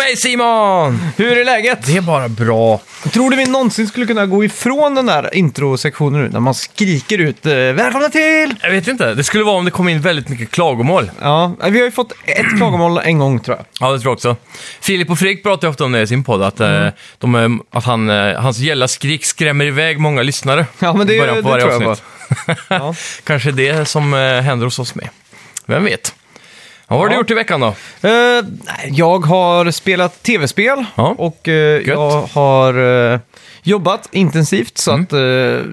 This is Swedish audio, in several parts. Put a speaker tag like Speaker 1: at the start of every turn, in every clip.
Speaker 1: Hej Simon!
Speaker 2: Hur är läget?
Speaker 1: Det är bara bra.
Speaker 2: Tror du vi någonsin skulle kunna gå ifrån den där introsektionen nu, när man skriker ut eh, “Välkomna till!”
Speaker 1: Jag vet inte, det skulle vara om det kom in väldigt mycket klagomål.
Speaker 2: Ja, eh, vi har ju fått ett klagomål en gång tror jag.
Speaker 1: Ja, det tror jag också. Filip och Fredrik pratar ju ofta om det i sin podd, att, eh,
Speaker 2: Mm.
Speaker 1: de, är- att han, eh, hans gälla skrik skrämmer iväg många lyssnare.
Speaker 2: Ja, men
Speaker 1: I
Speaker 2: det,
Speaker 1: början
Speaker 2: det
Speaker 1: på varje
Speaker 2: tror jag på.
Speaker 1: avsnitt.
Speaker 2: Ja.
Speaker 1: Kanske det som eh, händer hos oss med. Vem vet? Ja, vad har du
Speaker 2: Ja.
Speaker 1: gjort i veckan då?
Speaker 2: Eh, nej, jag har spelat tv-spel
Speaker 1: Ja.
Speaker 2: och eh, jag har eh, jobbat intensivt så
Speaker 1: Mm.
Speaker 2: att eh,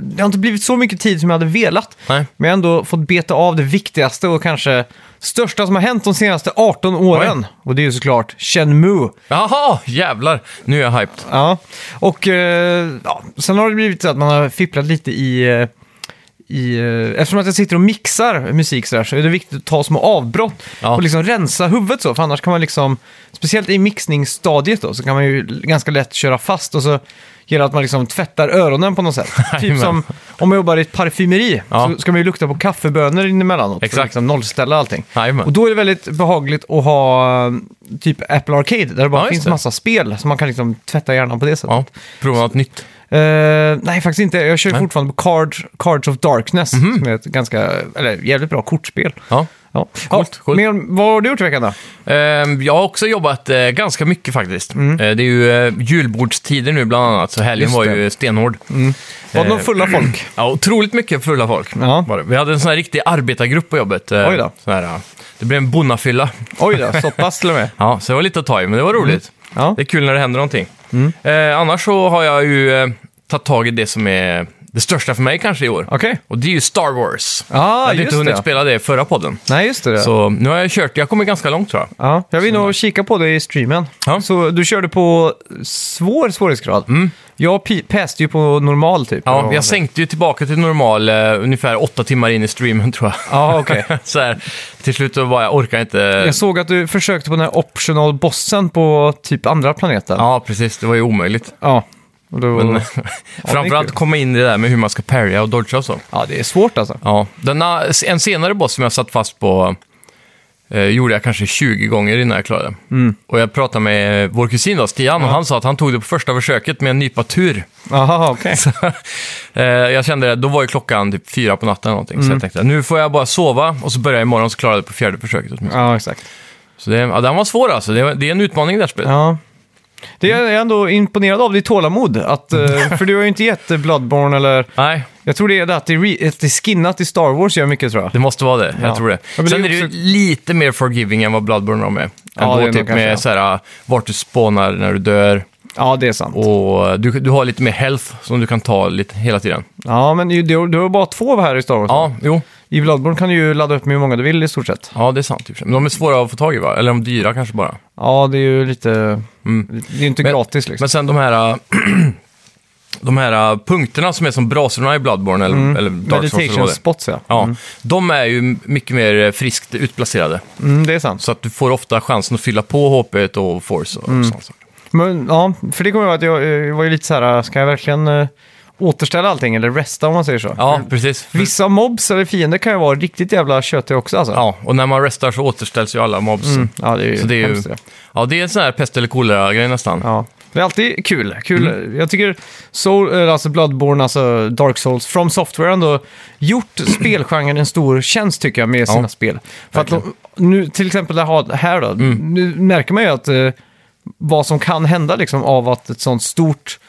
Speaker 2: det har inte blivit så mycket tid som jag hade velat.
Speaker 1: Nej.
Speaker 2: Men jag har ändå fått beta av det viktigaste och kanske största som har hänt de senaste 18 åren. Och det är ju såklart Shenmue.
Speaker 1: Jaha, jävlar! Nu är jag hyped.
Speaker 2: Ja, och eh, ja, sen har det blivit så att man har fipplat lite i... eh, I, eh, eftersom att jag sitter och mixar musik så, där, så är det viktigt att ta små avbrott
Speaker 1: Ja.
Speaker 2: och liksom rensa huvudet så. För annars kan man liksom, speciellt i mixningsstadiet då, så kan man ju ganska lätt köra fast och så gäller det att man liksom tvättar öronen på något sätt. typ
Speaker 1: Jajamän.
Speaker 2: som om man jobbar i ett parfymeri
Speaker 1: Ja.
Speaker 2: så ska man ju lukta på kaffebönor in emellanåt för att
Speaker 1: Exakt.
Speaker 2: liksom nollställa allting.
Speaker 1: Jajamän.
Speaker 2: Och då är det väldigt behagligt att ha eh, typ Apple Arcade där det bara
Speaker 1: Ja, just
Speaker 2: finns
Speaker 1: det.
Speaker 2: massa spel så man kan liksom tvätta hjärnan på det sättet.
Speaker 1: Ja, prova något nytt.
Speaker 2: Eh, nej, faktiskt inte. Jag kör
Speaker 1: Nej.
Speaker 2: fortfarande på Cards, Cards of Darkness
Speaker 1: Mhm.
Speaker 2: som är ett ganska, eller jävligt bra kortspel.
Speaker 1: Ja.
Speaker 2: Ja.
Speaker 1: Coolt,
Speaker 2: ja,
Speaker 1: coolt.
Speaker 2: men vad har du gjort i veckan då?
Speaker 1: Ehm, Jag har också jobbat eh, ganska mycket faktiskt. Eh, Det är ju eh, julbordstider nu bland annat, så helgen
Speaker 2: Mm. Just
Speaker 1: var
Speaker 2: det. Mm.
Speaker 1: ju stenhård.
Speaker 2: Var det
Speaker 1: Eh,
Speaker 2: några fulla folk?
Speaker 1: Ja, otroligt mycket fulla folk.
Speaker 2: Ja.
Speaker 1: Var det. Vi hade en sån här riktig arbetargrupp på jobbet. eh,
Speaker 2: Oj då.
Speaker 1: Sån här, ja. det blev en bonnafylla.
Speaker 2: Oj då, så pass till och med.
Speaker 1: Ja, så det var lite att ta i, men det var roligt.
Speaker 2: Mm. Ja. Mm.
Speaker 1: Det är kul när det händer någonting. Eh, annars så har jag ju eh, tagit tag i det som är det största för mig kanske i år.
Speaker 2: Okej.
Speaker 1: Och det är ju Star Wars. jag
Speaker 2: Ah,
Speaker 1: hade inte
Speaker 2: just
Speaker 1: hunnit
Speaker 2: det.
Speaker 1: spela det i förra podden.
Speaker 2: Nej, just det.
Speaker 1: Så nu har jag kört, jag kommer ganska långt tror jag.
Speaker 2: Ja, jag vill nog kika på det i streamen.
Speaker 1: Ja. Mm.
Speaker 2: Så du körde på svår svårighetsgrad. Jag pi- päste ju på normal typ.
Speaker 1: Ja, jag sänkte ju tillbaka till normal eh, ungefär åtta timmar in i streamen tror jag.
Speaker 2: Ja, okej.
Speaker 1: så här, till slut så bara, jag orkar inte.
Speaker 2: Jag såg att du försökte på den här optional bossen på typ andra planeten.
Speaker 1: Ja, precis. Det var ju omöjligt.
Speaker 2: ja. Och då...
Speaker 1: Men, framförallt
Speaker 2: kul.
Speaker 1: komma in i det där med hur man ska parrya och dodga och så.
Speaker 2: ja, det är svårt alltså.
Speaker 1: Ja, denna, en senare boss som jag satt fast på eh, gjorde jag kanske 20 gånger innan jag klarade.
Speaker 2: Mm.
Speaker 1: Och jag pratade med vår kusin då, Stian, och han sa att han tog det på första försöket med en nypa tur.
Speaker 2: Jaha, okej.
Speaker 1: Eh, jag kände det, då var ju klockan typ fyra på natten eller någonting.
Speaker 2: Mm.
Speaker 1: Så jag tänkte, nu får jag bara sova och så börjar jag imorgon så klarar jag det på fjärde försöket åtminstone.
Speaker 2: Ja, exakt.
Speaker 1: Så det, ja, den var svår alltså. Det, det är en utmaning det här spelet.
Speaker 2: Ja. Det är jag ändå imponerad av ditt tålamod. Att, eh, för du har ju inte gett eh, Bloodborne eller...
Speaker 1: Nej,
Speaker 2: Jag tror det är det att det är, re- att det är skinnat i Star Wars gör mycket tror jag.
Speaker 1: det måste vara det.
Speaker 2: Ja.
Speaker 1: Jag tror det.
Speaker 2: Ja, men det
Speaker 1: Sen
Speaker 2: är
Speaker 1: är det ju
Speaker 2: också-
Speaker 1: lite mer forgiving än vad Bloodborne var med.
Speaker 2: Ja,
Speaker 1: Ändå
Speaker 2: det är nog
Speaker 1: typ
Speaker 2: kanske, ja.
Speaker 1: med så här, vart du spånar när du dör
Speaker 2: Ja, det är sant.
Speaker 1: och du, du har lite mer health som du kan ta lite, hela tiden.
Speaker 2: Ja, men ju- du, du har bara två här i Star Wars.
Speaker 1: Ja, jo.
Speaker 2: I Bloodborne kan du ju ladda upp med hur många du vill i stort sett.
Speaker 1: Ja, det är sant. Typ. Men de är svåra att få tag i va? Eller de är dyra kanske bara.
Speaker 2: Ja, det är ju lite... Det är ju inte
Speaker 1: Mm. Men-
Speaker 2: gratis liksom.
Speaker 1: Men sen de här... äh, De här äh, punkterna som är som brasorna i Bloodborne eller, eller Dark Souls. eller
Speaker 2: Meditation
Speaker 1: vad det är.
Speaker 2: spots ja.
Speaker 1: Ja, de är ju mycket mer eh, friskt utplacerade.
Speaker 2: Mm, det är sant.
Speaker 1: Så att du får ofta chansen att fylla på HP och force och sånt.
Speaker 2: Men, ja, för det kommer jag ihåg att jag, eh, jag var ju lite så här, ska jag verkligen eh, återställa allting eller resta om man säger så?
Speaker 1: Ja, precis.
Speaker 2: Vissa mobs eller fiender kan ju vara riktigt jävla köttiga också alltså.
Speaker 1: Ja, och när man restar så återställs ju alla mobs.
Speaker 2: Mm. Ja, det är ju...
Speaker 1: Så det är ju...
Speaker 2: hemskt,
Speaker 1: Ja, det är en sån här pest eller kolera-grej nästan.
Speaker 2: Ja. Det är alltid kul. kul.
Speaker 1: Mm.
Speaker 2: Jag tycker Soul, eh, alltså Bloodborne, alltså Dark Souls, From Software har ändå gjort spelgenren en stor tjänst tycker jag med sina
Speaker 1: Ja,
Speaker 2: spel. För att de, nu, till exempel det här- här då,
Speaker 1: Mm.
Speaker 2: nu märker man ju att eh, vad som kan hända liksom av att ett sånt stort,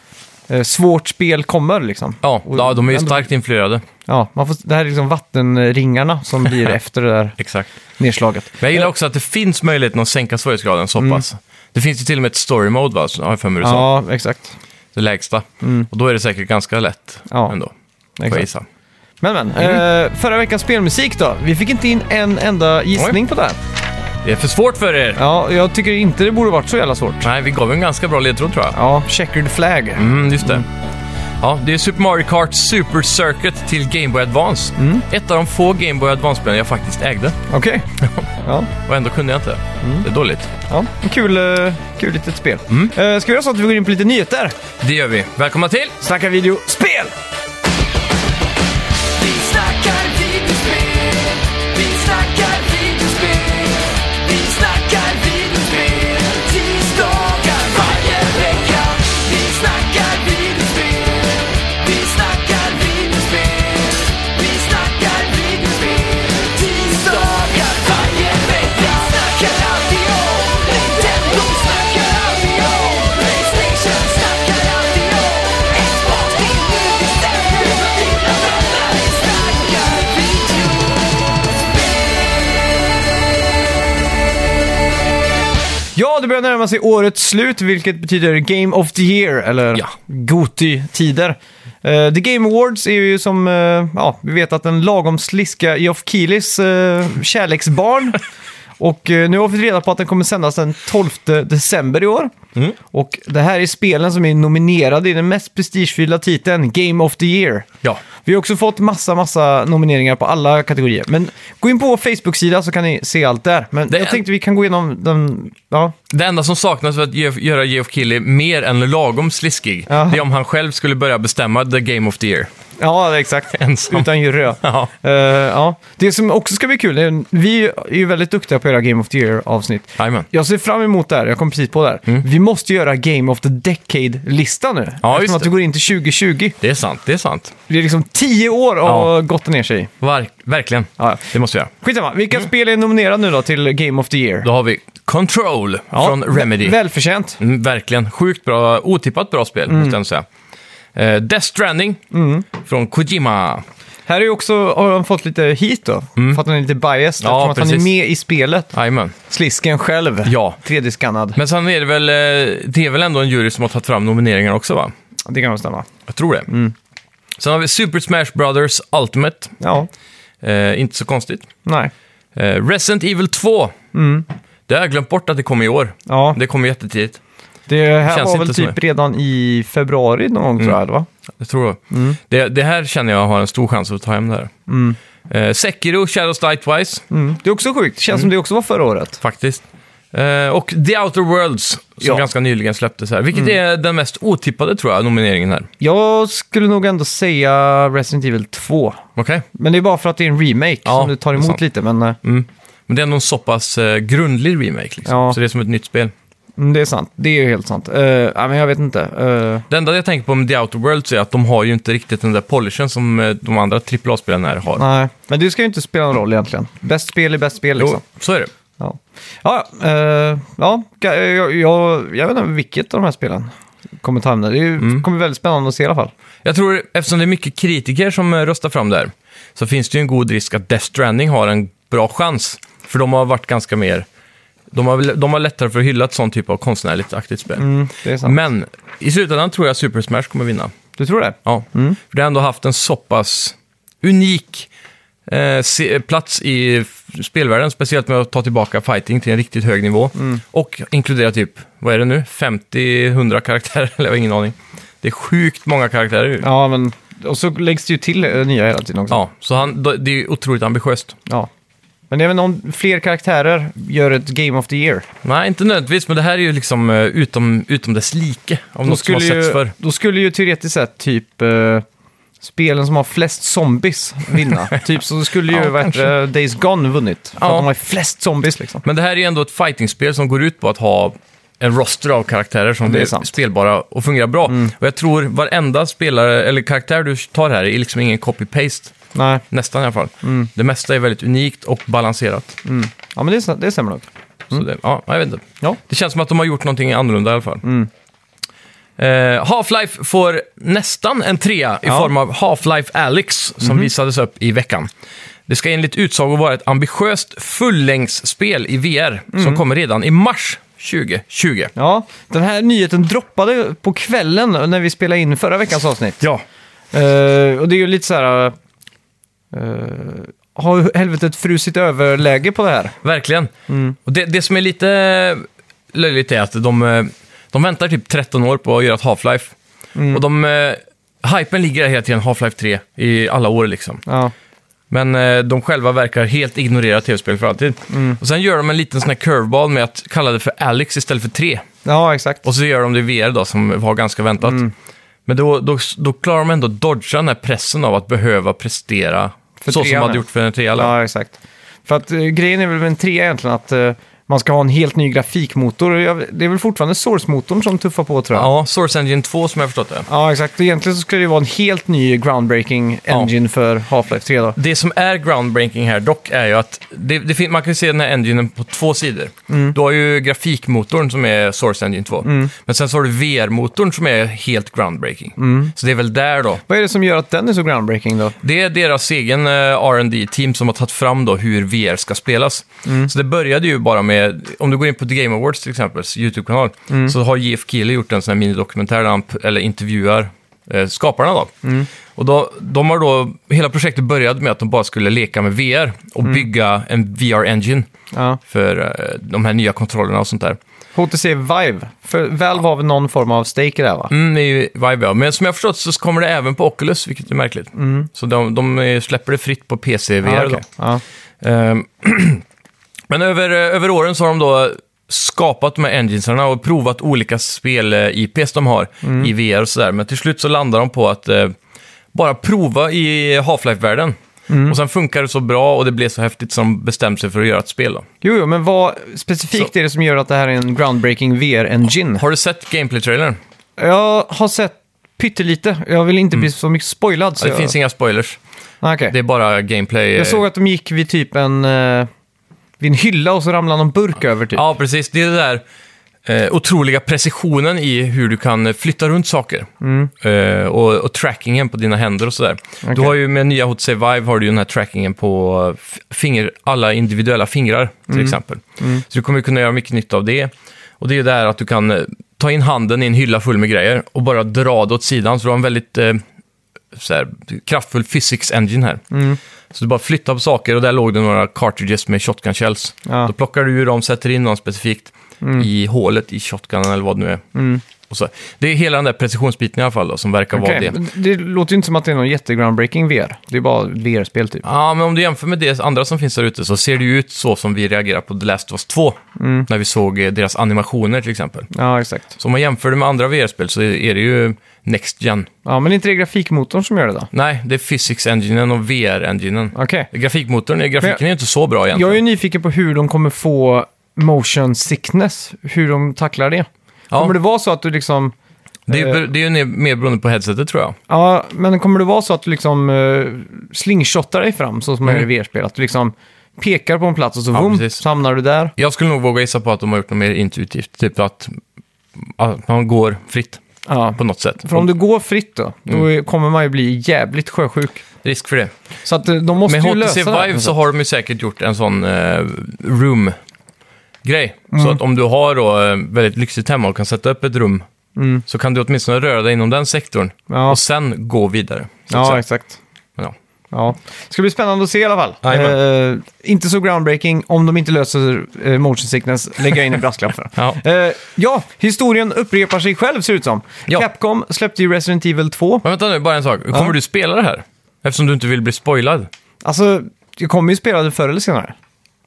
Speaker 2: eh, svårt spel kommer liksom.
Speaker 1: Ja,
Speaker 2: Och
Speaker 1: ja, de är ju
Speaker 2: ändå-
Speaker 1: starkt influerade.
Speaker 2: Ja, man får, det här är liksom vattenringarna som blir efter det där
Speaker 1: Exakt.
Speaker 2: nedslaget.
Speaker 1: Men jag gillar också att det finns möjligheten att sänka svårighetsgraden så pass. Det finns ju till och med ett story mode, va? Så har jag för mig du sa.
Speaker 2: Ja, exakt.
Speaker 1: Det lägsta. Och då är det säkert ganska lätt
Speaker 2: Mm. Ja,
Speaker 1: ändå. Får jag
Speaker 2: exakt.
Speaker 1: gissa.
Speaker 2: Men men, eh, förra veckans spelmusik då? Vi fick inte in en enda gissning på det här.
Speaker 1: Det är för svårt för er.
Speaker 2: Ja, jag tycker inte det borde varit så jävla svårt.
Speaker 1: Nej, vi gav en ganska bra ledtråd tror jag.
Speaker 2: Ja, checkered flag.
Speaker 1: Mm, just det. Ja, det är Super Mario Kart Super Circuit till Game Boy Advance.
Speaker 2: Mm.
Speaker 1: Ett av de få Game Boy Advance-spelen jag faktiskt ägde.
Speaker 2: Okej. Ja,
Speaker 1: Och ändå kunde jag inte.
Speaker 2: Mm.
Speaker 1: Det är dåligt.
Speaker 2: ja. En Kul, eh, kul litet spel. Mm. Ska vi göra så att vi går in på lite nyheter?
Speaker 1: Det gör vi. Välkomna till!
Speaker 2: Snacka video, spel!
Speaker 3: Vi snackar videospel, vi snackar videospel, vi snackar videospel, tisdagar
Speaker 2: det börjar närma sig årets slut, vilket betyder Game of the Year, eller
Speaker 1: Ja.
Speaker 2: Goti-tider. Eh, the Game Awards är ju som, eh, ja, vi vet att en lagom sliska Geoff Keelys eh, kärleksbarn. Och eh, nu har vi fått reda på att den kommer sändas den 12 december i år. Och det här är spelen som är nominerade i den mest prestigefyllda titeln, Game of the Year.
Speaker 1: Ja.
Speaker 2: Vi har också fått massa, massa nomineringar på alla kategorier. Men gå in på vår Facebook-sida så kan ni se allt där. Men
Speaker 1: Det-
Speaker 2: jag tänkte vi kan gå igenom den... Ja,
Speaker 1: Det enda som saknas för att ge- göra Geoff Keighley mer än lagom sliskig,
Speaker 2: Ja.
Speaker 1: det är om han själv skulle börja bestämma the game of the year.
Speaker 2: ja exakt.
Speaker 1: Ensam.
Speaker 2: Utan jurö.
Speaker 1: Ja.
Speaker 2: Eh, ja. Det som också ska bli kul, är, vi är ju väldigt duktiga på era Game of the Year-avsnitt.
Speaker 1: Jajamän. Mm.
Speaker 2: Jag ser fram emot det här, jag kom precis på det här. Vi måste göra Game of the Decade-lista nu.
Speaker 1: Ja, just
Speaker 2: Eftersom att
Speaker 1: det.
Speaker 2: det går in till 2020.
Speaker 1: Det är sant, det är sant.
Speaker 2: Det är liksom tio år av
Speaker 1: Ja.
Speaker 2: gott ner sig i.
Speaker 1: Verk- verkligen.
Speaker 2: Ja, ja.
Speaker 1: Det måste vi göra.
Speaker 2: Skitsamma, vilka spel är nominerade nu då till Game of the Year?
Speaker 1: Mm. Då har vi Control
Speaker 2: Ja,
Speaker 1: från Remedy.
Speaker 2: Välförtjänt.
Speaker 1: Mm, verkligen. Sjukt bra, otippat bra spel,
Speaker 2: Mm.
Speaker 1: måste jag ändå säga. Eh, Death Stranding från Kojima.
Speaker 2: Här är ju också, har han fått lite hit då, för att han är lite biased,
Speaker 1: Mm. Ja,
Speaker 2: eftersom att han är
Speaker 1: precis.
Speaker 2: med i spelet.
Speaker 1: Jajamän.
Speaker 2: Slisken själv,
Speaker 1: Ja.
Speaker 2: 3D-skannad.
Speaker 1: Men sen är det väl, eh, det är väl ändå en jury som har tagit fram nomineringar också va?
Speaker 2: Det kan nog stämma.
Speaker 1: Jag tror det.
Speaker 2: Mm.
Speaker 1: Sen har vi Super Smash Brothers Ultimate.
Speaker 2: Ja,
Speaker 1: Eh, inte så konstigt.
Speaker 2: nej.
Speaker 1: Eh, Resident Evil 2. Det har jag glömt bort att det kom i år.
Speaker 2: Mm. Ja,
Speaker 1: Det kom jättetidigt.
Speaker 2: det här
Speaker 1: känns
Speaker 2: var väl
Speaker 1: inte Mm. som
Speaker 2: typ redan i februari någon gång tror jag, eller va?
Speaker 1: Jag tror det.
Speaker 2: Mm.
Speaker 1: det. Det här känner jag har en stor chans att ta hem det här. Eh, Sekiro, Shadows Die Twice,
Speaker 2: Mm. Det är också sjukt, känns som det också var förra året.
Speaker 1: faktiskt. Eh, och The Outer Worlds, som
Speaker 2: Ja. Mm.
Speaker 1: ganska nyligen släpptes här. Vilket är den mest otippade, tror jag, nomineringen här.
Speaker 2: Jag skulle nog ändå säga Resident Evil 2.
Speaker 1: Okej?
Speaker 2: Men det är bara för att det är en remake
Speaker 1: Ja,
Speaker 2: som du tar
Speaker 1: det är
Speaker 2: emot
Speaker 1: sant.
Speaker 2: lite, men eh,
Speaker 1: Mm. Men det är ändå en så pass eh, grundlig remake, liksom.
Speaker 2: Ja.
Speaker 1: Så det är som ett nytt spel.
Speaker 2: mm, det är sant. Det är ju helt sant. Eh, ja, men jag vet inte. Eh,
Speaker 1: Det enda jag tänker på med The Outer Worlds är att de har ju inte riktigt den där polishen som eh, de andra AAA-spelen här har.
Speaker 2: nej, men det ska ju inte spela någon roll egentligen. Bäst spel är bäst spel liksom.
Speaker 1: Jo, så är det.
Speaker 2: Ja, ja, eh, ja ga- eh, jag, jag, jag vet inte vilket av de här spelen kommer ta hamna. Det är ju-
Speaker 1: Mm.
Speaker 2: kommer bli väldigt spännande att se i alla fall.
Speaker 1: Jag tror, eftersom det är mycket kritiker som eh, röstar fram där, så finns det ju en god risk att Death Stranding har en bra chans. För de har varit ganska mer... De har, väl- de har lättare för att hylla ett sån typ av konstnärligt aktigt spel.
Speaker 2: Mm, det är sant.
Speaker 1: Men i slutändan tror jag Super Smash kommer vinna.
Speaker 2: Du tror det?
Speaker 1: Ja. För det har ändå haft en så pass unik eh, se- plats i f- spelvärlden, speciellt med att ta tillbaka fighting till en riktigt hög nivå.
Speaker 2: Mm.
Speaker 1: Och inkludera typ, vad är det nu, 50-100 karaktärer? Eller jag har ingen aning. Det är sjukt många karaktärer ju.
Speaker 2: Ja, men och så läggs det ju till eh, nya hela tiden också.
Speaker 1: Ja, så han, då- det är ju otroligt ambitiöst.
Speaker 2: Ja. Men även om fler karaktärer gör ett Game of the Year.
Speaker 1: Nej, inte nödvändigtvis, men det här är ju liksom eh, utom, utom dess like av
Speaker 2: Då
Speaker 1: något som
Speaker 2: skulle,
Speaker 1: har setts
Speaker 2: ju,
Speaker 1: för.
Speaker 2: då skulle ju teoretiskt sett typ eh, spelen som har flest zombies vinna. typ så skulle ju
Speaker 1: Ja,
Speaker 2: vad heter det, Days Gone vunnit. För
Speaker 1: Ja.
Speaker 2: att de har ju flest zombies liksom.
Speaker 1: Men det här är ju ändå ett fightingspel som går ut på att ha en roster av karaktärer som
Speaker 2: Det är
Speaker 1: är,
Speaker 2: sant. Mm.
Speaker 1: spelbara och fungerar bra. Och jag tror varenda spelare, eller karaktär du tar här är liksom ingen copy-paste.
Speaker 2: Nej,
Speaker 1: Nästan i alla fall.
Speaker 2: Mm.
Speaker 1: Det mesta är väldigt unikt och balanserat.
Speaker 2: ja men det, är- det stämmer nog. Mm.
Speaker 1: Så det, ja, jag vet inte.
Speaker 2: Ja.
Speaker 1: Det känns som att de har gjort någonting annorlunda i alla fall. Eh, Half-Life får nästan en trea i
Speaker 2: Ja.
Speaker 1: form av Half-Life Alyx som visades upp i veckan. Det ska enligt utsago vara ett ambitiöst fullängdsspel i VR som kommer redan i mars 2020.
Speaker 2: Ja, den här nyheten droppade på kvällen när vi spelade in förra veckans avsnitt.
Speaker 1: Ja.
Speaker 2: Eh, och det är ju lite så här... eh, har helvetet frusit överläge på det här?
Speaker 1: Verkligen. Och det, det som är lite löjligt är att de, eh, de väntar typ 13 år på att göra ett Half-Life. Och de... Eh, Hypen ligger där hela tiden, Half-Life 3, i alla år liksom.
Speaker 2: Ja,
Speaker 1: Men eh, de själva verkar helt ignorera tv-spel för alltid.
Speaker 2: Mm.
Speaker 1: Och sen gör de en liten sån här curveball med att kalla det för Alex istället för 3.
Speaker 2: ja exakt.
Speaker 1: Och så gör de det i VR då, som var ganska väntat.
Speaker 2: Mm.
Speaker 1: Men då, då, då klarar de ändå att dodga den här pressen av att behöva prestera
Speaker 2: För
Speaker 1: så som
Speaker 2: trean,
Speaker 1: man hade
Speaker 2: ja.
Speaker 1: gjort för en 3 ja.
Speaker 2: Ja, exakt. För att eh, grejen är väl med en trea egentligen att eh, man ska ha en helt ny grafikmotor. Och jag- Det är väl fortfarande Source-motorn som tuffar på tror jag. Ja.
Speaker 1: ja, Source Engine 2 som jag förstått det.
Speaker 2: exakt. Egentligen så skulle det vara en helt ny groundbreaking
Speaker 1: Ja.
Speaker 2: engine för Half-Life 3 då.
Speaker 1: Det som är groundbreaking här dock är ju att det, det fin- man kan ju se den här enginen på två sidor.
Speaker 2: Mm.
Speaker 1: Du har ju grafikmotorn som är Source Engine 2. Men sen så har du VR-motorn som är helt groundbreaking.
Speaker 2: Mm.
Speaker 1: Så det är väl där då.
Speaker 2: Vad är det som gör att den är så groundbreaking då?
Speaker 1: Det är deras egen eh, R&D team som har tagit fram då hur VR ska spelas. Så det började ju bara med med, om du går in på The Game Awards till exempel, YouTube-kanal, så har JF Keely gjort en sån här minidokumentär där han p- eller intervjuar eh, skaparna då. Och då, de har då, hela projektet började med att de bara skulle leka med VR och bygga en VR-engine
Speaker 2: Ja.
Speaker 1: för eh, de här nya kontrollerna och sånt där.
Speaker 2: HTC Vive. För Valve har väl någon form av stake i det här va?
Speaker 1: Mm, det är ju Vive, ja. Men som jag har förstått så kommer det även på Oculus, vilket är märkligt. Så de, de eh, släpper det fritt på PC-VR
Speaker 2: Ja,
Speaker 1: då.
Speaker 2: Ah, okej. ja.
Speaker 1: Ehm, Men över, eh, över åren så har de då skapat de här enginesarna och provat olika spel-IPs de har
Speaker 2: Mm.
Speaker 1: i VR och sådär. Men till slut så landar de på att eh, bara prova i Half-Life-världen.
Speaker 2: Mm.
Speaker 1: Och sen funkar det så bra och det blev så häftigt som de bestämde sig för att göra ett spel. Då.
Speaker 2: Jo, jo, men vad specifikt är det som gör att det här är en groundbreaking VR-engine?
Speaker 1: Har du sett Gameplay-trailern?
Speaker 2: Jag har sett pyttelite. Jag vill inte bli så mycket spoilad. Så
Speaker 1: Mm. Ja, det
Speaker 2: jag...
Speaker 1: finns inga spoilers.
Speaker 2: Ah, okej.
Speaker 1: Det är bara gameplay. eh,
Speaker 2: Jag såg att de gick vid typ en... eh, Vid en hylla och så ramlade någon burk över typ.
Speaker 1: Ja, precis. Det är den där eh, otroliga precisionen i hur du kan eh, flytta runt saker. Eh, och, och trackingen på dina händer och sådär. Du har ju med nya HTC Vive har du ju den här trackingen på eh, f- finger, alla individuella fingrar till exempel. Så du kommer ju kunna göra mycket nytta av det. Och det är ju där att du kan eh, ta in handen i en hylla full med grejer och bara dra det åt sidan. Så du har en väldigt eh, så här, kraftfull physics engine här. Så du bara flyttar på saker och där låg det några cartridges med shotgun shells.
Speaker 2: Ja. Mm.
Speaker 1: Då plockar du ur dem, sätter in någon specifikt i hålet i shotgunen eller vad det nu är. Och så, det är hela den där precisionsbiten i alla fall då, som verkar vara
Speaker 2: Okej,
Speaker 1: det.
Speaker 2: men det låter ju inte som att det är någon jättegroundbreaking VR. Det är bara VR-spel typ.
Speaker 1: Ja, men om du jämför med det andra som finns där ute så ser det ju ut så som vi reagerar på The Last of Us 2.
Speaker 2: Mm.
Speaker 1: När vi såg eh, deras animationer till exempel.
Speaker 2: Ja, exakt.
Speaker 1: Så om man jämför det med andra VR-spel så är det ju Next Gen.
Speaker 2: Ja, men inte det grafikmotorn som gör det då?
Speaker 1: Nej, det är Physics-enginen och VR-enginen.
Speaker 2: Okej.
Speaker 1: Grafikmotorn,
Speaker 2: Men
Speaker 1: grafiken
Speaker 2: jag-
Speaker 1: är ju inte så bra egentligen.
Speaker 2: Jag är ju nyfiken på hur de kommer få motion sickness. Hur de tacklar det.
Speaker 1: Ja.
Speaker 2: Kommer det vara så att du liksom...
Speaker 1: Det är,
Speaker 2: Eh.
Speaker 1: ju- det är ju ne- mer beroende på headsetet tror jag.
Speaker 2: Ja, men kommer det vara så att du liksom uh, slingshottar dig fram så som man gör i VR-spel? Att du liksom pekar på en plats och så,
Speaker 1: Mm. Ja,
Speaker 2: boom,
Speaker 1: precis.
Speaker 2: så hamnar du där.
Speaker 1: Jag skulle nog våga gissa på att de har gjort något mer intuitivt. Typ att, att man går fritt
Speaker 2: Ja.
Speaker 1: på Mm. något sätt.
Speaker 2: För om du går fritt då, då är- kommer man ju bli jävligt sjösjuk.
Speaker 1: Risk för det.
Speaker 2: Så att eh, de måste
Speaker 1: Med
Speaker 2: ju lösa
Speaker 1: HTC
Speaker 2: det här.
Speaker 1: Vive så har de ju säkert gjort en sån eh, room-grej. Så
Speaker 2: Mm.
Speaker 1: att om du har då eh, väldigt lyxigt hemma och kan sätta upp ett rum så kan du åtminstone röra dig inom den sektorn
Speaker 2: Mm. Ja,
Speaker 1: och sen gå vidare. Så att
Speaker 2: ja
Speaker 1: säga.
Speaker 2: exakt.
Speaker 1: Men ja.
Speaker 2: Ja. Det ska bli spännande att se i alla fall.
Speaker 1: Jajamän.
Speaker 2: Eh, inte så groundbreaking om de inte löser eh, motion sickness. Lägger jag in en brasklapp för.
Speaker 1: Ja.
Speaker 2: Eh, ja, historien upprepar sig själv ser det ut som.
Speaker 1: Ja.
Speaker 2: Capcom släppte ju Resident Evil 2.
Speaker 1: Men vänta nu, bara en sak. Kommer
Speaker 2: Ja.
Speaker 1: du spela det här? Eftersom du inte vill bli spoilad.
Speaker 2: Alltså, jag kommer ju spela det förr eller senare.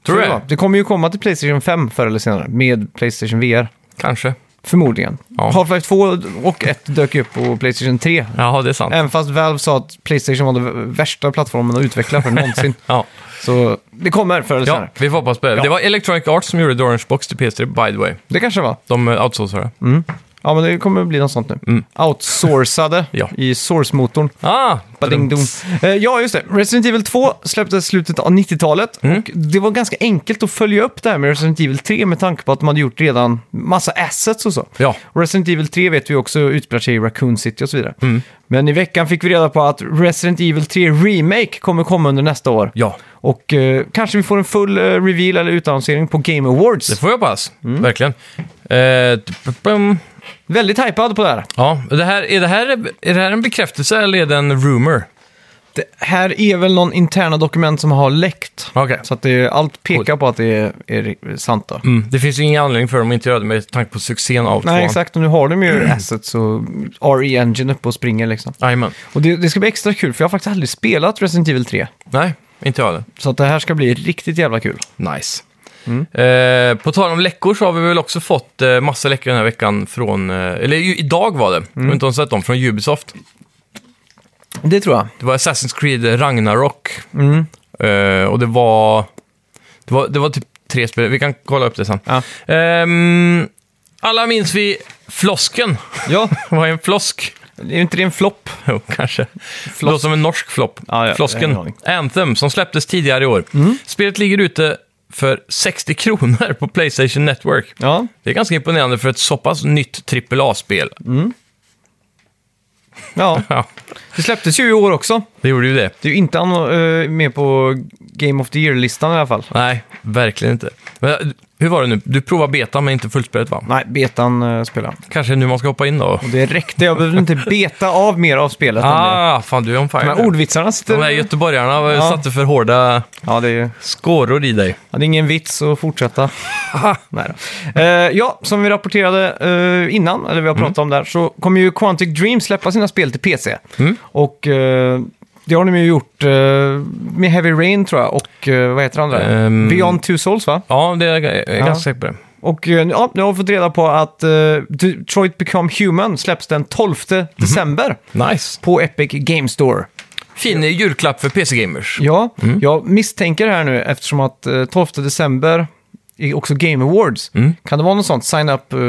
Speaker 1: Tror
Speaker 2: Så
Speaker 1: du
Speaker 2: det
Speaker 1: det?
Speaker 2: var. Det kommer ju komma till Playstation 5 förr eller senare med Playstation VR.
Speaker 1: Kanske.
Speaker 2: Förmodligen.
Speaker 1: Ja.
Speaker 2: Half-Life 2 och 1 dök ju upp på Playstation 3.
Speaker 1: Jaha, det är sant.
Speaker 2: Även fast Valve sa att Playstation var den värsta plattformen att utveckla för någonsin.
Speaker 1: Ja.
Speaker 2: Så det kommer förr eller
Speaker 1: Ja,
Speaker 2: senare.
Speaker 1: vi får hoppas på det. Det var Electronic Arts som gjorde The Orange Box till PS3, by the way.
Speaker 2: Det kanske var.
Speaker 1: De eh, outsourcade det.
Speaker 2: Mm. Ja, men det kommer bli något sånt nu. Outsourcade
Speaker 1: Mm. Ja.
Speaker 2: i source-motorn.
Speaker 1: Ah!
Speaker 2: Bading-dong. Eh, Ja, just det. Resident Evil 2 släpptes i slutet av 90-talet. Och det var ganska enkelt att följa upp det här med Resident Evil 3 med tanke på att de hade gjort redan massa assets och så.
Speaker 1: Ja.
Speaker 2: Och Resident Evil 3 vet vi också utspelar sig i Raccoon City och så vidare. Men i veckan fick vi reda på att Resident Evil 3 Remake kommer komma under nästa år.
Speaker 1: Ja,
Speaker 2: Och eh, kanske vi får en full eh, reveal eller utannonsering på Game Awards.
Speaker 1: det får jag hoppas.
Speaker 2: Mm.
Speaker 1: Verkligen. Eh, tup-tup-pum.
Speaker 2: Väldigt hypad på det här.
Speaker 1: ja, det här, är, det här, är det här en bekräftelse eller är det en rumor?
Speaker 2: Det här är väl någon interna dokument som har läckt.
Speaker 1: Okej.
Speaker 2: Så att det, allt pekar på att det är, är sant då.
Speaker 1: Mm. Det finns ju ingen anledning för dem att inte göra det med tanke på succén av
Speaker 2: Nej,
Speaker 1: tvåan.
Speaker 2: exakt. Och nu har de ju assets och RE-engine uppe och springer liksom.
Speaker 1: Jajamän.
Speaker 2: Och det, det ska bli extra kul, för jag har faktiskt aldrig spelat Resident Evil 3.
Speaker 1: Nej, inte jag heller.
Speaker 2: Så att det här ska bli riktigt jävla kul.
Speaker 1: Nice.
Speaker 2: Mm.
Speaker 1: Eh, på tal om läckor så har vi väl också fått eh, massa läckor den här veckan från, eh, eller ju, idag var det, jag
Speaker 2: Mm.
Speaker 1: har inte ens sett dem, från Ubisoft.
Speaker 2: Det tror jag.
Speaker 1: Det var Assassin's Creed Ragnarok.
Speaker 2: Mm.
Speaker 1: Eh, och det var, det var... Det var typ tre spel. Vi kan kolla upp det sen.
Speaker 2: Ja.
Speaker 1: Ehm, alla minns vi flosken.
Speaker 2: Ja,
Speaker 1: Vad är en flosk?
Speaker 2: är inte det en flopp?
Speaker 1: Jo, kanske. Låter som en norsk flopp.
Speaker 2: Ja, ja, jag har
Speaker 1: flosken.
Speaker 2: ingen Mm.
Speaker 1: Anthem, som släpptes tidigare i år. Spelet ligger ute för 60 kronor på Playstation Network.
Speaker 2: Ja.
Speaker 1: Det är ganska imponerande för ett så pass nytt AAA-spel.
Speaker 2: Mm. Ja,
Speaker 1: Ja,
Speaker 2: det släpptes ju i år också.
Speaker 1: det gjorde ju det.
Speaker 2: Det är ju inte an- eh, med på Game of the Year-listan i alla fall.
Speaker 1: Nej, verkligen inte. Men eh, Hur var det nu? Du provar beta men inte fullspelet va?
Speaker 2: Nej, betan eh, spelar jag.
Speaker 1: Kanske nu man ska hoppa in då?
Speaker 2: Och det räckte, jag behövde inte beta av mer av spelet. än det.
Speaker 1: Ah, fan du är on fire.
Speaker 2: De här ordvitsarna sitter...
Speaker 1: De där göteborgarna
Speaker 2: Ja.
Speaker 1: satte för hårda
Speaker 2: ja, det är,
Speaker 1: skåror i dig.
Speaker 2: ja, det är ingen vits att fortsätta. Nej då. Eh, ja, som vi rapporterade eh, innan, eller vi har pratat om där, så kommer ju Quantic Dream släppa sina spel till PC.
Speaker 1: Mm.
Speaker 2: Och eh, det har de ju gjort eh, med Heavy Rain tror jag, och eh, vad heter det andra?
Speaker 1: Ehm.
Speaker 2: Beyond Two Souls va?
Speaker 1: Ja, det är, jag är
Speaker 2: Ja.
Speaker 1: ganska säker på det.
Speaker 2: Och eh, ja, nu har vi fått reda på att eh, Detroit Become Human släpps den 12
Speaker 1: Mhm.
Speaker 2: december
Speaker 1: Nice.
Speaker 2: på Epic Game Store.
Speaker 1: Fin julklapp för PC-gamers.
Speaker 2: Ja,
Speaker 1: Mm.
Speaker 2: jag misstänker här nu eftersom att eh, 12 december är också Game Awards.
Speaker 1: Mm.
Speaker 2: Kan det vara något sånt? Sign up eh,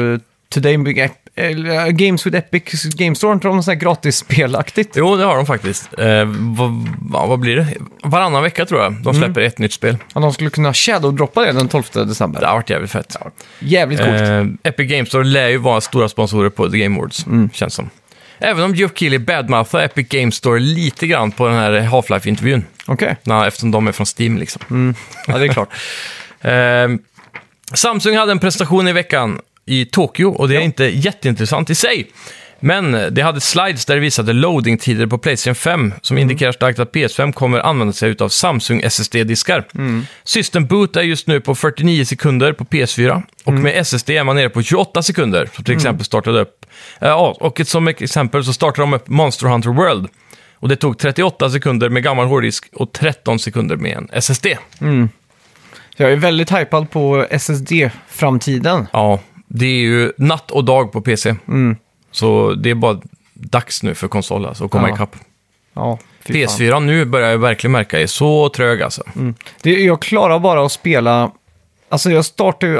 Speaker 2: today big app, eller, eh, Games with Epic Game Store, inte något sånt här gratisspelaktigt?
Speaker 1: Jo, det har de faktiskt. Eh, vad, ja, vad blir det? Varannan vecka tror jag
Speaker 2: Mm.
Speaker 1: de släpper ett nytt spel.
Speaker 2: Att de skulle kunna shadow-droppa det den 12 december.
Speaker 1: Det har varit jävligt fett.
Speaker 2: Jävligt coolt. Mm.
Speaker 1: Eh, Epic Games Store lär ju vara stora sponsorer på The Game Awards, känns som. Även om Geoff Keighley badmouthar Epic Games Store lite grann på den här Half-Life-intervjun.
Speaker 2: Okej.
Speaker 1: Nej, eftersom de är från Steam liksom.
Speaker 2: Ja, det är klart.
Speaker 1: Eh, Samsung hade en prestation i veckan i Tokyo och det är inte jätteintressant i sig. Men det hade slides där det visade loading-tider på Playstation 5 som indikerar starkt att PS5 kommer använda sig av Samsung SSD-diskar. System boot är just nu på 49 sekunder på PS4 och med SSD är man nere på 28 sekunder. Som till exempel startade upp, eh, ja, och ett, som exempel så startade de upp Monster Hunter World och det tog 38 sekunder med gammal hårddisk och 13 sekunder med en SSD.
Speaker 2: Så Jag är väldigt hypad på SSD-framtiden.
Speaker 1: Ja, det är ju natt och dag på PC.
Speaker 2: Mm.
Speaker 1: Så det är bara dags nu för konsol alltså, att komma
Speaker 2: Ja,
Speaker 1: ikapp.
Speaker 2: Ja, fy fan.
Speaker 1: PS4 nu börjar jag verkligen märka är så trög alltså.
Speaker 2: Det, jag klarar bara att spela... Alltså jag startar ju...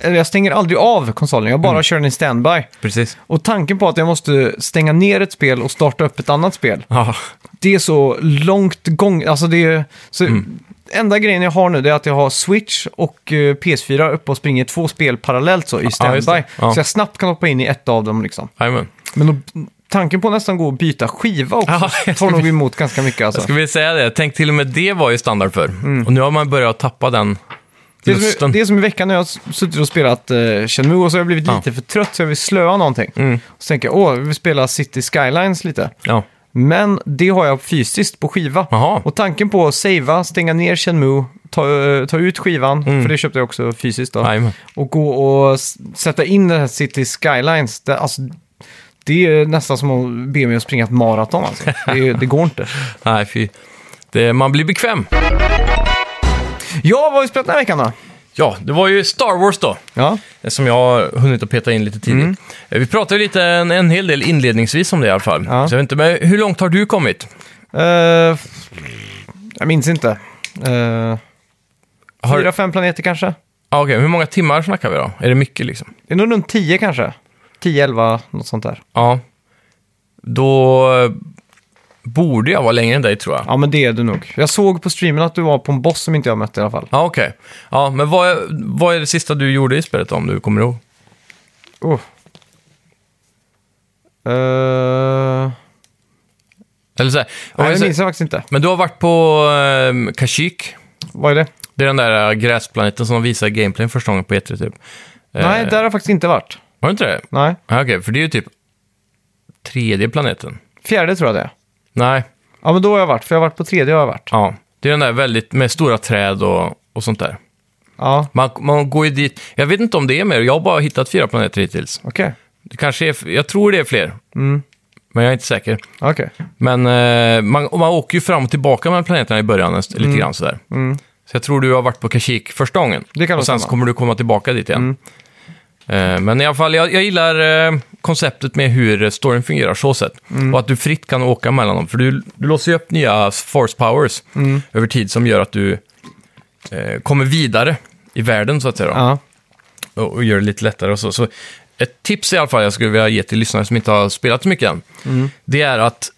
Speaker 2: Eller jag stänger aldrig av konsolen, jag bara
Speaker 1: Mm.
Speaker 2: kör den i standby.
Speaker 1: Precis.
Speaker 2: Och tanken på att jag måste stänga ner ett spel och starta upp ett annat spel,
Speaker 1: Ja,
Speaker 2: det är så långt gång... Alltså det är... Så
Speaker 1: Mm.
Speaker 2: Enda grejen jag har nu det är att jag har Switch och eh, PS4 uppe och springer två spel parallellt så i
Speaker 1: just
Speaker 2: standby.
Speaker 1: det. Ja.
Speaker 2: Så jag snabbt kan hoppa in i ett av dem liksom.
Speaker 1: jajamän.
Speaker 2: Men då, tanken på att nästan gå och byta skiva också
Speaker 1: Ja, jag
Speaker 2: tar
Speaker 1: ska-
Speaker 2: nog emot ganska mycket alltså.
Speaker 1: Ska vi säga det? Tänk till och med det var ju standard för. Och nu har man börjat tappa den
Speaker 2: Mm. Det är, som,
Speaker 1: lusten.
Speaker 2: det är som i veckan när jag har suttit och spelat uh, Shenmue och så har jag blivit
Speaker 1: Ja. Mm.
Speaker 2: lite för trött så jag vill slöa någonting. Och så tänker jag, åh, vi vill spela City Skylines lite.
Speaker 1: Ja.
Speaker 2: Men det har jag fysiskt på skiva.
Speaker 1: Jaha.
Speaker 2: Och tanken på att savea, stänga ner Shenmue, ta, eh, ta ut skivan,
Speaker 1: Mm.
Speaker 2: för det köpte jag också fysiskt då.
Speaker 1: Jajamän.
Speaker 2: Och gå och s- sätta in den här City Skylines. Det, alltså, det är nästan som att be mig att springa ett maraton alltså. det, det går inte.
Speaker 1: Nej, fy. Det, man blir bekväm.
Speaker 2: Ja, vad har vi spelat den här veckan då?
Speaker 1: Ja, det var ju Star Wars då.
Speaker 2: Ja,
Speaker 1: Som jag har hunnit att peta in lite tidigt.
Speaker 2: Mm.
Speaker 1: Eh, Vi pratade ju lite en, en hel del inledningsvis om det i alla fall.
Speaker 2: Ja.
Speaker 1: Så jag vet inte, men hur långt har du kommit?
Speaker 2: Eh, jag minns inte. Eh,
Speaker 1: Har,
Speaker 2: Fyra, fem planeter kanske?
Speaker 1: Ah, Okej, hur många timmar snackar vi då? Är det mycket liksom?
Speaker 2: Det är nog runt tio kanske. Tio, elva, något sånt där.
Speaker 1: Ja. Då eh, borde jag vara längre än dig tror jag. Ja,
Speaker 2: Ja, men det är du nog. Jag såg på streamen att du var på en boss som inte jag mött i alla fall.
Speaker 1: okej. Ja, men vad, vad är det sista du gjorde i spelet om du kommer ihåg?
Speaker 2: Oh. Eh,
Speaker 1: Eller så här, om
Speaker 2: nej,
Speaker 1: jag
Speaker 2: det
Speaker 1: säger-
Speaker 2: minns jag faktiskt inte.
Speaker 1: Men du har varit på eh, Kashyyyk.
Speaker 2: Vad är det?
Speaker 1: Det är den där eh, gräsplaneten som de visar i gameplayen första gången på E3 typ.
Speaker 2: Nej, där har jag faktiskt inte varit.
Speaker 1: Har du inte det?
Speaker 2: Nej.
Speaker 1: Ja, okej, för det är ju typ tredje planeten.
Speaker 2: Fjärde tror jag det är.
Speaker 1: Nej,
Speaker 2: Ja, men då har jag varit. För jag har varit på tredje har jag varit.
Speaker 1: ja. Det är den där väldigt, med stora träd och, och sånt där.
Speaker 2: Ja,
Speaker 1: Man, man går ju dit, jag vet inte om det är mer, jag har bara hittat fyra planeter hittills.
Speaker 2: okej.
Speaker 1: Det kanske är, jag tror det är fler.
Speaker 2: Mm.
Speaker 1: Men jag är inte säker.
Speaker 2: Okej.
Speaker 1: Men eh, man, och man åker ju fram och tillbaka mellan planeterna i början, en- lite
Speaker 2: Mm.
Speaker 1: grann sådär. Så jag tror du har varit på Kashyyyk första gången.
Speaker 2: Det kan Mm. nog
Speaker 1: och sen så
Speaker 2: stämma.
Speaker 1: kommer du komma tillbaka dit igen. Eh, men i alla fall, jag, jag gillar eh, konceptet med hur eh, storyn fungerar så sett.
Speaker 2: Mm.
Speaker 1: Och att du fritt kan åka mellan dem. För du, du låser ju upp nya force powers
Speaker 2: Mm.
Speaker 1: över tid som gör att du eh, kommer vidare i världen så att säga. Då
Speaker 2: Ja.
Speaker 1: och, och gör det lite lättare och så. så. Ett tips i alla fall jag skulle vilja ge till lyssnare som inte har spelat så mycket än, det är att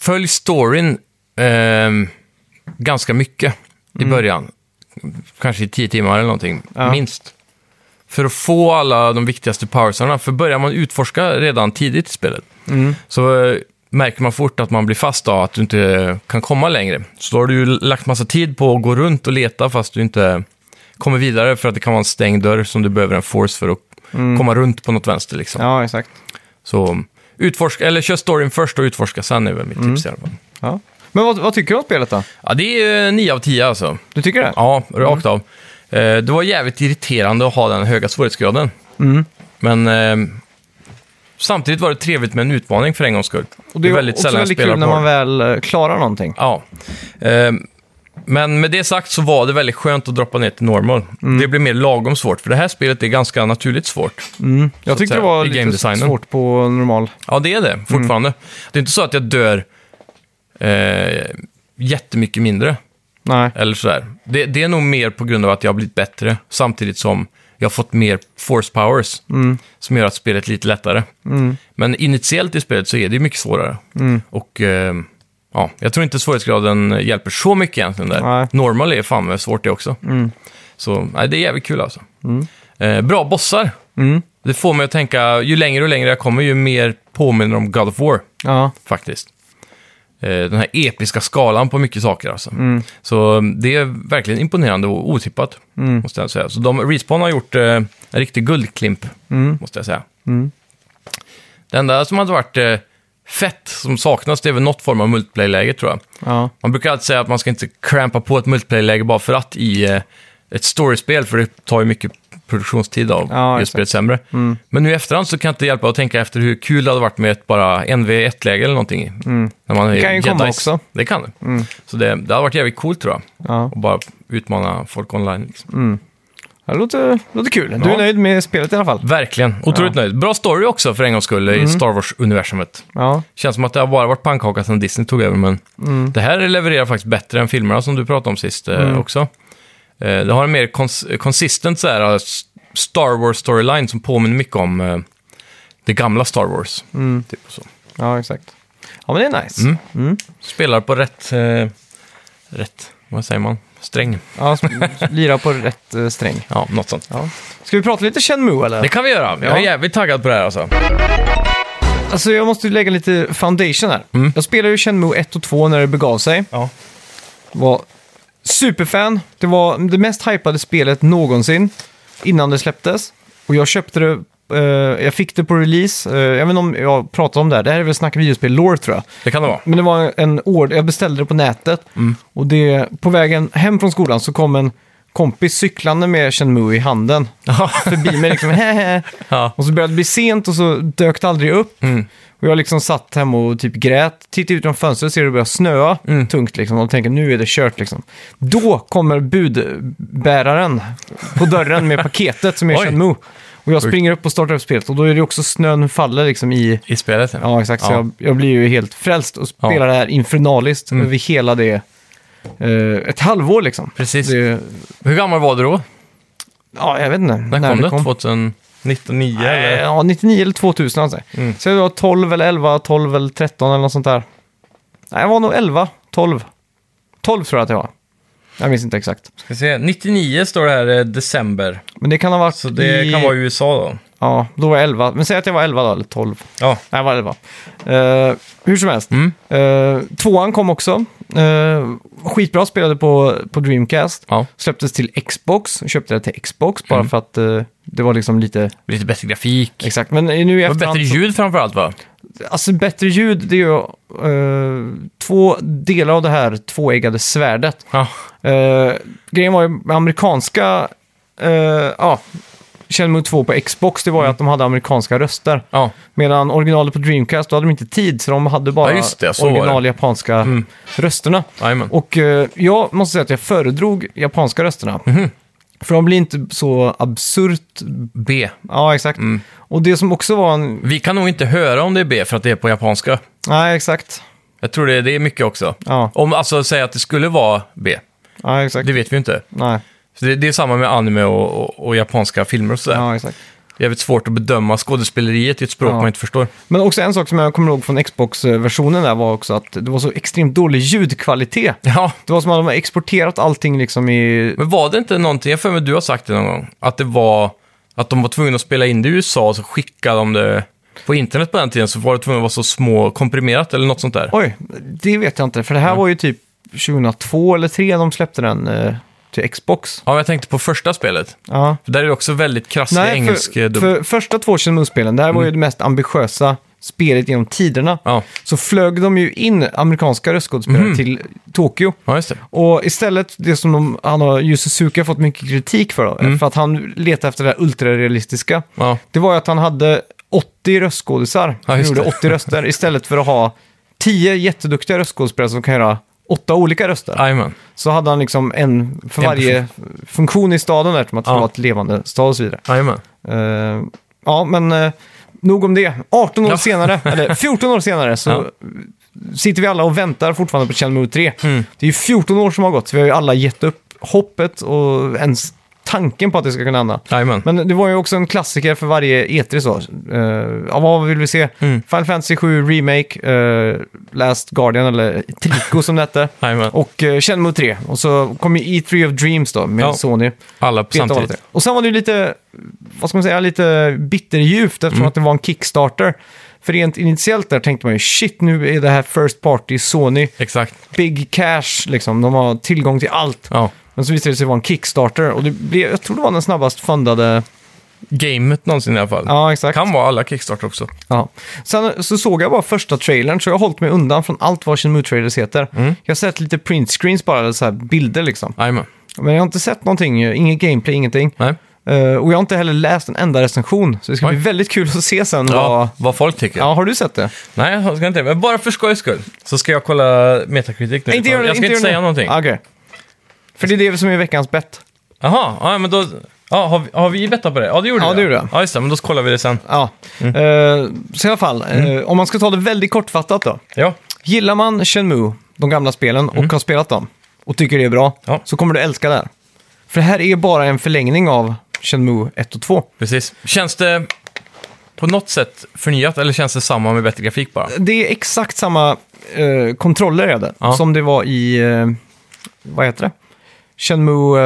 Speaker 1: följ storyn ehm, ganska mycket i början. Kanske i tio timmar eller någonting,
Speaker 2: Mm. Ja.
Speaker 1: minst. För att få alla de viktigaste powersarna, för börjar man utforska redan tidigt i spelet,
Speaker 2: Mm.
Speaker 1: så eh, märker man fort att man blir fast av att du inte kan komma längre. Så då har du ju lagt massa tid på att gå runt och leta fast du inte kommer vidare för att det kan vara en stängd dörr som du behöver en force för att komma runt på något vänster liksom.
Speaker 2: Mm. Ja, exakt.
Speaker 1: Så utforska, eller kör storyn först och utforska sen är väl mitt
Speaker 2: Mm.
Speaker 1: tips i alla fall.
Speaker 2: Ja. Men vad, vad tycker du om spelet då?
Speaker 1: Ja, det är eh, 9 av 10 alltså.
Speaker 2: Du tycker det?
Speaker 1: Ja, rakt
Speaker 2: Mm.
Speaker 1: av. Eh, det var jävligt irriterande att ha den höga svårighetsgraden.
Speaker 2: Mm.
Speaker 1: Men eh, samtidigt var det trevligt med en utmaning för en gångs skull.
Speaker 2: Och det är,
Speaker 1: väldigt
Speaker 2: också
Speaker 1: sällan jag
Speaker 2: väldigt
Speaker 1: spelar
Speaker 2: kul när
Speaker 1: på
Speaker 2: man väl eh, klarar någonting.
Speaker 1: Ja. Eh, men med det sagt så var det väldigt skönt att droppa ner till normal.
Speaker 2: Mm.
Speaker 1: Det blev mer lagom svårt, för det här spelet är ganska naturligt svårt.
Speaker 2: Mm. Jag tyckte det
Speaker 1: säga,
Speaker 2: var
Speaker 1: i
Speaker 2: lite
Speaker 1: gamedesignen.
Speaker 2: svårt Mm. på normal.
Speaker 1: Ja, det är det fortfarande. Det är inte så att jag dör eh, jättemycket mindre.
Speaker 2: Nej.
Speaker 1: Eller sådär. Det, det är nog mer på grund av att jag har blivit bättre, samtidigt som jag har fått mer force powers, som gör att spelet är lite lättare. Men initiellt i spelet så är det ju mycket svårare. Och eh, ja, jag tror inte svårighetsgraden hjälper så mycket egentligen där.
Speaker 2: Nej.
Speaker 1: Normal är fan med svårt det också. Så nej, det är jävligt kul alltså. Eh, bra bossar. Det får mig att tänka, ju längre och längre jag kommer, ju mer påminner om God of War
Speaker 2: Ja.
Speaker 1: faktiskt. Eh, Den här episka skalan på mycket saker alltså. Så eh, det är verkligen imponerande och otippat, måste jag säga. Så de, Respawn har gjort eh, en riktig guldklimp, måste jag säga. Det enda som hade varit eh, fett som saknas, det är väl något form av multiplayer-läge tror jag.
Speaker 2: Ja.
Speaker 1: Man brukar alltid säga att man ska inte crampa på ett multiplayer-läge bara för att i eh, ett storyspel, för det tar ju mycket produktionstid av
Speaker 2: Ja,
Speaker 1: ja,
Speaker 2: exakt. Mm.
Speaker 1: spelet sämre. Men nu i efterhand så kan jag inte hjälpa att tänka efter hur kul det hade varit med ett bara NV1-läge eller någonting. När man
Speaker 2: Mm. Det kan ju
Speaker 1: Jedis.
Speaker 2: komma också. Mm.
Speaker 1: Det kan det. Så det, det hade varit jävligt coolt tror jag.
Speaker 2: Ja. Mm.
Speaker 1: Att bara utmana folk online. Liksom.
Speaker 2: Det låter, låter kul. Du
Speaker 1: Ja.
Speaker 2: är nöjd med spelet i alla fall?
Speaker 1: Verkligen, otroligt nöjd. Bra story också för en gångs skull
Speaker 2: Mm.
Speaker 1: i Star Wars-universumet.
Speaker 2: Ja.
Speaker 1: Känns som att det har bara varit pannkaka sedan Disney tog över, men det här levererar faktiskt bättre än filmerna som du pratade om sist eh, också. Eh, det har en mer kons- konsistent så här, eh, s- Star Wars-storyline som påminner mycket om eh, det gamla Star Wars. Typ så.
Speaker 2: ja, exakt. Ja, men det är nice.
Speaker 1: Mm. Spelar på rätt, eh, rätt, vad säger man, sträng.
Speaker 2: Ja, sp- lira på rätt eh, sträng.
Speaker 1: Ja, något sånt.
Speaker 2: Ja. Ska vi prata lite Shenmue eller?
Speaker 1: Det kan vi göra. Jag är
Speaker 2: Ja.
Speaker 1: jävligt taggad på det här alltså.
Speaker 2: Alltså jag måste ju lägga lite foundation här. Jag spelade ju Shenmue 1 och 2 när det begav sig.
Speaker 1: Ja.
Speaker 2: Var superfan. Det var det mest hypade spelet någonsin innan det släpptes. Och jag köpte det, eh, jag fick det på release. Eh, jag vet inte om jag pratade om det här. Det här är väl Snacka videospel-lore tror jag.
Speaker 1: Det kan det vara.
Speaker 2: Men det var en order, jag beställde det på nätet.
Speaker 1: Mm.
Speaker 2: Och det, på vägen hem från skolan så kom en kompis cyklande med Shenmue i handen. Förbi mig liksom, "Hähä."
Speaker 1: Ja. Mm.
Speaker 2: Och så började det bli sent och så dök det aldrig upp. Och jag liksom satt hemma och typ grät, tittade ut genom fönstret och ser det börja snöa
Speaker 1: Mm.
Speaker 2: tungt liksom. Och tänker nu är det kört liksom. Då kommer budbäraren på dörren med paketet som är
Speaker 1: Oj.
Speaker 2: Shenmue. Och jag springer upp och startar upp spelet och då är det också snön faller liksom i
Speaker 1: I spelet. Ja.
Speaker 2: Ja, exakt. Så jag, jag blir ju helt frälst och spelar
Speaker 1: Ja. Mm.
Speaker 2: det här infernaliskt över hela det. eh, ett halvår liksom.
Speaker 1: Precis.
Speaker 2: Det,
Speaker 1: Hur gammal var du då?
Speaker 2: ja, jag vet inte.
Speaker 1: När, kom det? 2019? 9,
Speaker 2: Eh,
Speaker 1: eller?
Speaker 2: Ja, 99 eller 2000 alltså.
Speaker 1: Mm.
Speaker 2: Så jag var 12 eller 11, 12 eller 13 eller något sånt där. Nej, jag var nog 11, 12. 12 tror jag att jag var. Jag minns inte exakt.
Speaker 1: Ska se. 99 står det här, eh, december.
Speaker 2: Men det kan ha varit
Speaker 1: Så det
Speaker 2: i...
Speaker 1: kan vara i USA då.
Speaker 2: Ja, då var jag 11. Men säg att jag var 11 då, eller 12.
Speaker 1: Ja.
Speaker 2: Nej, jag var 11. Eh, hur som helst.
Speaker 1: Mm.
Speaker 2: Eh, tvåan kom också. Eh, skitbra spelade på, på Dreamcast.
Speaker 1: ja.
Speaker 2: Släpptes till Xbox. Köpte det till Xbox bara
Speaker 1: Mm.
Speaker 2: för att eh, det var liksom lite...
Speaker 1: Lite bättre grafik.
Speaker 2: Exakt, men nu i
Speaker 1: Och
Speaker 2: efterhand...
Speaker 1: bättre
Speaker 2: så-
Speaker 1: ljud framförallt va?
Speaker 2: Alltså bättre ljud, det är ju eh, två delar av det här tvåeggade svärdet.
Speaker 1: Ja.
Speaker 2: Eh, grejen var ju med amerikanska... eh, Ja, Shenmue 2 på Xbox, det var ju
Speaker 1: Mm.
Speaker 2: att de hade amerikanska röster.
Speaker 1: Ja.
Speaker 2: Medan originalet på Dreamcast, då hade de inte tid, så de hade bara
Speaker 1: Ja, just det, så var det. Mm.
Speaker 2: original japanska rösterna.
Speaker 1: Jajamän.
Speaker 2: Och eh, jag måste säga att jag föredrog japanska rösterna. För de blir inte så absurt...
Speaker 1: B.
Speaker 2: Ja, exakt. Och det som också var en...
Speaker 1: Vi kan nog inte höra om det är B för att det är på japanska.
Speaker 2: Nej, exakt.
Speaker 1: Jag tror det, det är mycket också.
Speaker 2: Ja,
Speaker 1: Om alltså säga att det skulle vara B.
Speaker 2: ja exakt.
Speaker 1: Det vet vi ju inte.
Speaker 2: Nej,
Speaker 1: Så det, det är samma med anime och, och, och japanska filmer och sådär.
Speaker 2: ja, exakt.
Speaker 1: Det är jävligt svårt att bedöma skådespeleriet i ett språk
Speaker 2: Ja.
Speaker 1: man inte förstår.
Speaker 2: Men också en sak som jag kommer ihåg från Xbox-versionen där var också att det var så extremt dålig ljudkvalitet.
Speaker 1: Ja,
Speaker 2: Det var som att de har exporterat allting liksom i...
Speaker 1: men var det inte någonting, jag har för mig att du har sagt det någon gång, att det var att de var tvungna att spela in det i USA och så skickade de det på internet på den tiden så var det tvungna att vara så små komprimerat eller något sånt där.
Speaker 2: Oj, det vet jag inte. För det här var ju typ 2002 eller 2003 de släppte den eh, till Xbox.
Speaker 1: Ja, men jag tänkte på första spelet.
Speaker 2: Ja.
Speaker 1: För där är det också väldigt krasslig
Speaker 2: Nej,
Speaker 1: engelsk eh,
Speaker 2: för,
Speaker 1: dubb.
Speaker 2: för första två Shenmue-spelen, det här var ju det mest ambitiösa spelet genom tiderna.
Speaker 1: Ja. Mhm.
Speaker 2: Så flög de ju in amerikanska röstskådespelare till Tokyo.
Speaker 1: ja, just det.
Speaker 2: Och istället, det som de, han har, Yu Suzuki har fått mycket kritik för, då,
Speaker 1: Mm.
Speaker 2: för att han letade efter det här ultrarealistiska,
Speaker 1: Ja.
Speaker 2: det var ju att han hade 80 röstskådisar.
Speaker 1: Ja,
Speaker 2: han
Speaker 1: just
Speaker 2: gjorde
Speaker 1: det.
Speaker 2: 80 röster istället för att ha 10 jätteduktiga röstskådespelare som kan göra åtta olika röster.
Speaker 1: Jajamän.
Speaker 2: Så hade han liksom en för
Speaker 1: En
Speaker 2: varje funktion i staden där, eftersom att det
Speaker 1: Ja.
Speaker 2: var ett levande stad och så vidare.
Speaker 1: Jajamän.
Speaker 2: Eh, ja, men eh, nog om det. 18 år
Speaker 1: Ja.
Speaker 2: senare, eller 14 år senare, så
Speaker 1: Ja.
Speaker 2: sitter vi alla och väntar fortfarande på Chelmo 3.
Speaker 1: Mm.
Speaker 2: Det är ju 14 år som har gått, så vi har ju alla gett upp hoppet och ens tanken på att det ska kunna hända.
Speaker 1: Jajamän.
Speaker 2: Men det var ju också en klassiker för varje E3 så. Eh, ja, vad vill vi se?
Speaker 1: Mm.
Speaker 2: Final Fantasy 7 Remake, eh, Last Guardian eller Trico som det hette.
Speaker 1: Jajamän.
Speaker 2: Och eh, Shenmue 3. Och så kom ju E3 of Dreams då med
Speaker 1: Ja.
Speaker 2: Sony.
Speaker 1: Alla på
Speaker 2: Peta av
Speaker 1: samtidigt.
Speaker 2: det. Och sen var det ju lite, vad ska man säga, lite bitterljuvt
Speaker 1: Mm.
Speaker 2: eftersom att det var en Kickstarter. För rent initiellt där tänkte man ju shit, nu är det här First Party Sony,
Speaker 1: Exakt.
Speaker 2: big cash liksom, de har tillgång till allt.
Speaker 1: Ja.
Speaker 2: Men så visade det sig vara en Kickstarter och det blev, jag tror det var den snabbast fundade,
Speaker 1: Gamet någonsin i alla fall.
Speaker 2: ja exakt.
Speaker 1: Kan vara alla Kickstarter också.
Speaker 2: Ja. Sen så såg jag bara första trailern, så jag har hållit mig undan från allt vad Shenmue trailers heter.
Speaker 1: Mm.
Speaker 2: Jag har sett lite printscreens bara, eller så här bilder liksom.
Speaker 1: Jajamän.
Speaker 2: Men jag har inte sett någonting, inget gameplay, ingenting.
Speaker 1: Nej.
Speaker 2: Eh, och jag har inte heller läst en enda recension, så det ska
Speaker 1: Oj.
Speaker 2: bli väldigt kul att se sen vad...
Speaker 1: Ja, vad folk tycker.
Speaker 2: Ja, har du sett det?
Speaker 1: Nej, jag ska inte Men bara för skojs skull så ska jag kolla Metacritic nu.
Speaker 2: gör det,
Speaker 1: jag ska inte,
Speaker 2: gör det.
Speaker 1: säga någonting.
Speaker 2: Ah, Okej. För det är det som är veckans bett.
Speaker 1: Jaha, ja, men då... Ja, har, vi, har vi bettat på det? Ja, det gjorde
Speaker 2: Ja,
Speaker 1: vi.
Speaker 2: det gjorde jag.
Speaker 1: Ja, just det. Men då kollar vi det sen.
Speaker 2: Ja.
Speaker 1: Mm.
Speaker 2: Eh, så i alla fall, eh, om man ska ta det väldigt kortfattat då.
Speaker 1: Ja,
Speaker 2: Gillar man Shenmue, de gamla spelen, och har spelat dem och tycker det är bra,
Speaker 1: Mm. Ja.
Speaker 2: så kommer du älska det här. För det här är bara en förlängning av Shenmue 1 och 2.
Speaker 1: precis. Känns det på något sätt förnyat eller känns det samma med bättre grafik bara?
Speaker 2: Det är exakt samma eh, kontroller är det,
Speaker 1: Ja.
Speaker 2: som det var i, eh, vad heter det? Shenmue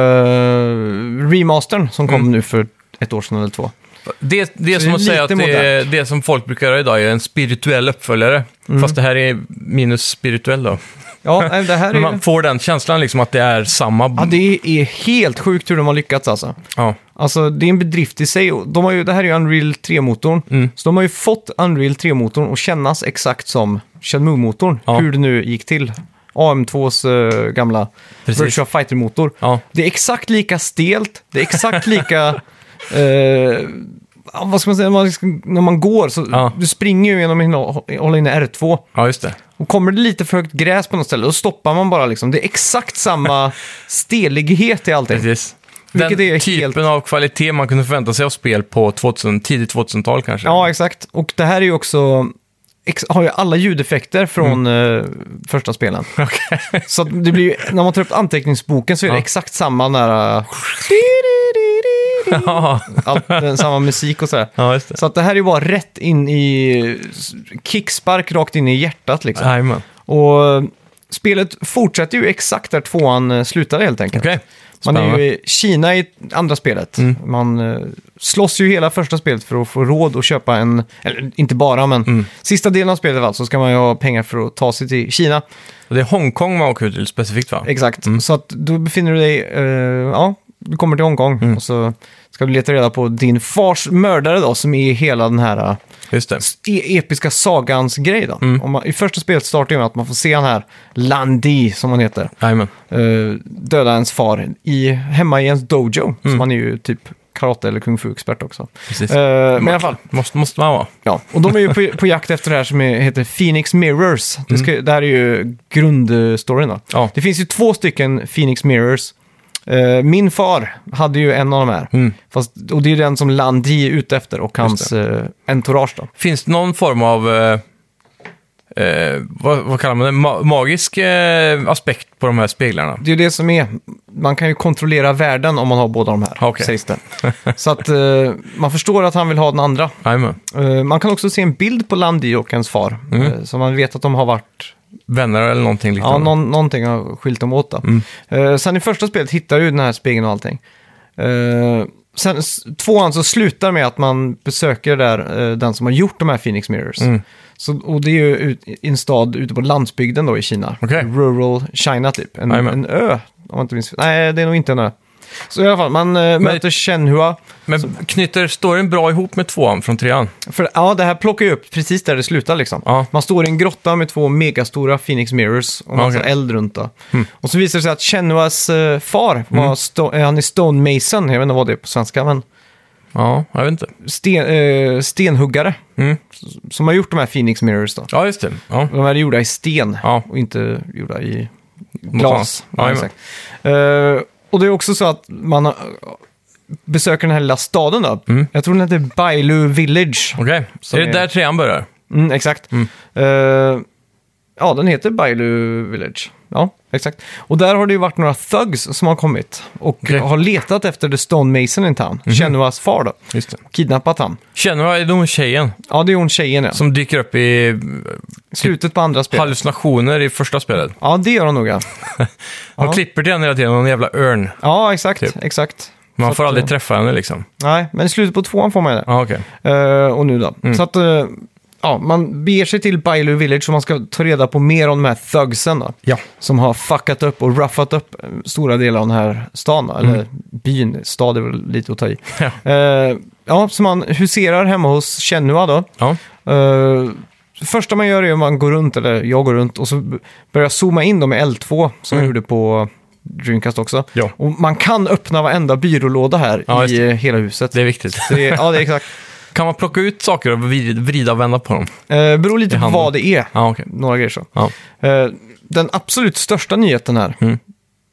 Speaker 2: eh, remastern som kom nu för ett år sedan eller två.
Speaker 1: Det, det är
Speaker 2: Så
Speaker 1: som
Speaker 2: det är
Speaker 1: att säga att
Speaker 2: lite
Speaker 1: det, är, det som folk brukar göra idag är en spirituell uppföljare. Fast det här är minus spirituell då.
Speaker 2: Mm. Ja, nej, det här är
Speaker 1: Men man
Speaker 2: ju...
Speaker 1: får den känslan liksom att det är samma.
Speaker 2: Ja, det är helt sjukt hur de har lyckats alltså.
Speaker 1: Ja.
Speaker 2: Alltså det är en bedrift i sig. Och De har ju, det här är ju Unreal 3-motorn. Så de har ju fått Unreal 3-motorn att kännas exakt som Shenmue-motorn.
Speaker 1: Ja.
Speaker 2: Hur det nu gick till. AM2s eh, gamla
Speaker 1: Precis.
Speaker 2: Virtua Fighter-motor.
Speaker 1: Ja.
Speaker 2: Det är exakt lika stelt. Det är exakt lika... eh, ja, vad ska man säga? Man, ska- när man går så...
Speaker 1: Ja.
Speaker 2: Du springer ju genom att hålla inne R2.
Speaker 1: ja, just det.
Speaker 2: Och kommer det lite för högt gräs på något ställe, då stoppar man bara liksom. Det är exakt samma stelighet i allting.
Speaker 1: Precis.
Speaker 2: Vilket
Speaker 1: Den
Speaker 2: är
Speaker 1: typen
Speaker 2: helt-
Speaker 1: av kvalitet man kunde förvänta sig av spel på 2000, tidigt 2000-tal kanske.
Speaker 2: Ja, exakt. Och det här är ju också... Ex- har ju alla ljudeffekter från
Speaker 1: Mm.
Speaker 2: eh, första spelen. Så att det blir ju, när man tar upp anteckningsboken så är det
Speaker 1: Ja.
Speaker 2: exakt samma nära...
Speaker 1: Ja,
Speaker 2: Allt, eh, samma musik och sådär.
Speaker 1: ja just det.
Speaker 2: Så att det här är ju bara rätt in i... Kickspark rakt in i hjärtat liksom.
Speaker 1: Jajamän.
Speaker 2: Och eh, spelet fortsätter ju exakt där tvåan eh, slutade helt enkelt.
Speaker 1: Okej.
Speaker 2: Man är
Speaker 1: Spännande. Mm.
Speaker 2: ju i Kina i andra spelet. Man eh, slåss ju hela första spelet för att få råd att köpa en, eller inte bara, men
Speaker 1: Mm.
Speaker 2: sista delen av spelet alltså, så ska man ju ha pengar för att ta sig till Kina.
Speaker 1: Det är Hongkong man åker ut till specifikt va?
Speaker 2: Exakt, så att då befinner du dig, eh, ja, du kommer till Hongkong och så ska du leta reda på din fars mördare då, som är hela den här eh,
Speaker 1: Just det.
Speaker 2: e- episka sagans grej då. Om man, I första spelet startar ju med att man får se han här Landi, som han heter
Speaker 1: Jajamän.
Speaker 2: eh, döda ens far i, hemma i ens dojo. Så man är ju typ karate eller kung fu-expert också.
Speaker 1: Precis.
Speaker 2: Eh, men i alla fall,
Speaker 1: Måste, måste man vara.
Speaker 2: ja. Och de är ju på, på jakt efter det här som är, heter Phoenix Mirrors. Det, ska, det här är ju grundstoryn då.
Speaker 1: Ja.
Speaker 2: Det finns ju två stycken Phoenix Mirrors. Eh, min far hade ju en av de här. Fast, och det är ju den som Landi är ute efter och hans uh, entourage då.
Speaker 1: Finns det någon form av, eh, eh, vad, vad kallar man det, Ma magisk eh, aspekt på de här speglarna?
Speaker 2: Det är ju det som är, man kan ju kontrollera världen om man har båda de här,
Speaker 1: Okej.
Speaker 2: sägs det. Så att eh, man förstår att han vill ha den andra.
Speaker 1: Jajamän.
Speaker 2: Eh, Man kan också se en bild på Landi och hans far. eh, Så man vet att de har varit...
Speaker 1: Vänner eller någonting
Speaker 2: Ja,
Speaker 1: liknande?
Speaker 2: någon, någonting har skilt dem åt. Då.
Speaker 1: Mm.
Speaker 2: Eh, Sen i första spelet hittar du den här spegeln och allting. Eh, Sen s- tvåan så slutar med att man besöker där, eh, den som har gjort de här Phoenix Mirrors.
Speaker 1: Mm.
Speaker 2: Så, och det är ju ut, i en stad ute på landsbygden då i Kina.
Speaker 1: Okej.
Speaker 2: Rural China typ. En,
Speaker 1: Jajamän.
Speaker 2: en ö Om jag inte minns Nej, det är nog inte en ö. Så i alla fall, man eh, möter Shenhua.
Speaker 1: Men knyter storyn bra ihop med tvåan från trean?
Speaker 2: För ja, det här plockar ju upp precis där det slutar liksom.
Speaker 1: Ja.
Speaker 2: Man står i en grotta med två megastora Phoenix Mirrors och massa
Speaker 1: Okej. Mm.
Speaker 2: eld runt då. Och så visar det sig att Chenuas eh, far, var sto- eh, han är Stone Mason, jag vet inte vad det är på svenska, men
Speaker 1: Ja, jag vet inte.
Speaker 2: sten, eh, stenhuggare.
Speaker 1: Mm.
Speaker 2: S- Som har gjort de här Phoenix Mirrors då.
Speaker 1: Ja, just det. Ja.
Speaker 2: De här är gjorda i sten
Speaker 1: Ja.
Speaker 2: och inte gjorda i
Speaker 1: annat.
Speaker 2: glas.
Speaker 1: Ja,
Speaker 2: Eh, och det är också så att man har, eh, besöker den här lilla staden då.
Speaker 1: Mm.
Speaker 2: Jag tror den heter Bailu Village.
Speaker 1: Okej,
Speaker 2: Så
Speaker 1: är det
Speaker 2: det-
Speaker 1: där trean börjar?
Speaker 2: Mm, exakt. Eh, ja, den heter Bailu Village. Ja, exakt. Och där har det ju varit några thugs som har kommit och
Speaker 1: Okej. Mhm.
Speaker 2: har letat efter The Stone Mason in town. Chenuas far då.
Speaker 1: Just det.
Speaker 2: Kidnappat han.
Speaker 1: Känner jag, är det hon tjejen
Speaker 2: Ja, det är hon tjejen ja.
Speaker 1: som dyker upp i eh,
Speaker 2: Slutet på andra spelet.
Speaker 1: hallucinationer i första spelet?
Speaker 2: Ja, det gör hon nog ja.
Speaker 1: Hon
Speaker 2: Ja.
Speaker 1: klipper till henne hela tiden, någon jävla örn.
Speaker 2: Ja, exakt.
Speaker 1: Typ.
Speaker 2: exakt. Så
Speaker 1: Man
Speaker 2: att,
Speaker 1: får aldrig
Speaker 2: eh,
Speaker 1: träffa henne liksom.
Speaker 2: Nej, men i slutet på tvåan får man ju det.
Speaker 1: Ja, Mm. okej.
Speaker 2: Eh, och nu då. Så att, eh, ja, man beger sig till Bailu Village så man ska ta reda på mer om de här thugsen då.
Speaker 1: Ja.
Speaker 2: Som har fuckat upp och roughat upp eh, stora delar av den här stan, då, eller byn. Stad är väl lite att ta i.
Speaker 1: Mm. Ja.
Speaker 2: Eh, ja, så man huserar hemma hos Chenua då.
Speaker 1: Ja.
Speaker 2: Eh, det första man gör är att man går runt, eller jag går runt, och så b- börjar jag zooma in dem i L2 som jag gjorde på Dreamcast också.
Speaker 1: Mm. Ja.
Speaker 2: Och man kan öppna varenda byrålåda här
Speaker 1: Ja, just
Speaker 2: i
Speaker 1: det.
Speaker 2: eh, hela huset.
Speaker 1: Det är viktigt.
Speaker 2: Så det är, ja, det är exakt.
Speaker 1: Kan man plocka ut saker och vrid- vrida och vända på dem?
Speaker 2: Eh, beror
Speaker 1: I
Speaker 2: lite på
Speaker 1: handen.
Speaker 2: vad det är.
Speaker 1: Ja, okej.
Speaker 2: Några grejer så.
Speaker 1: Ja.
Speaker 2: Eh, den absolut största nyheten här,
Speaker 1: Mm.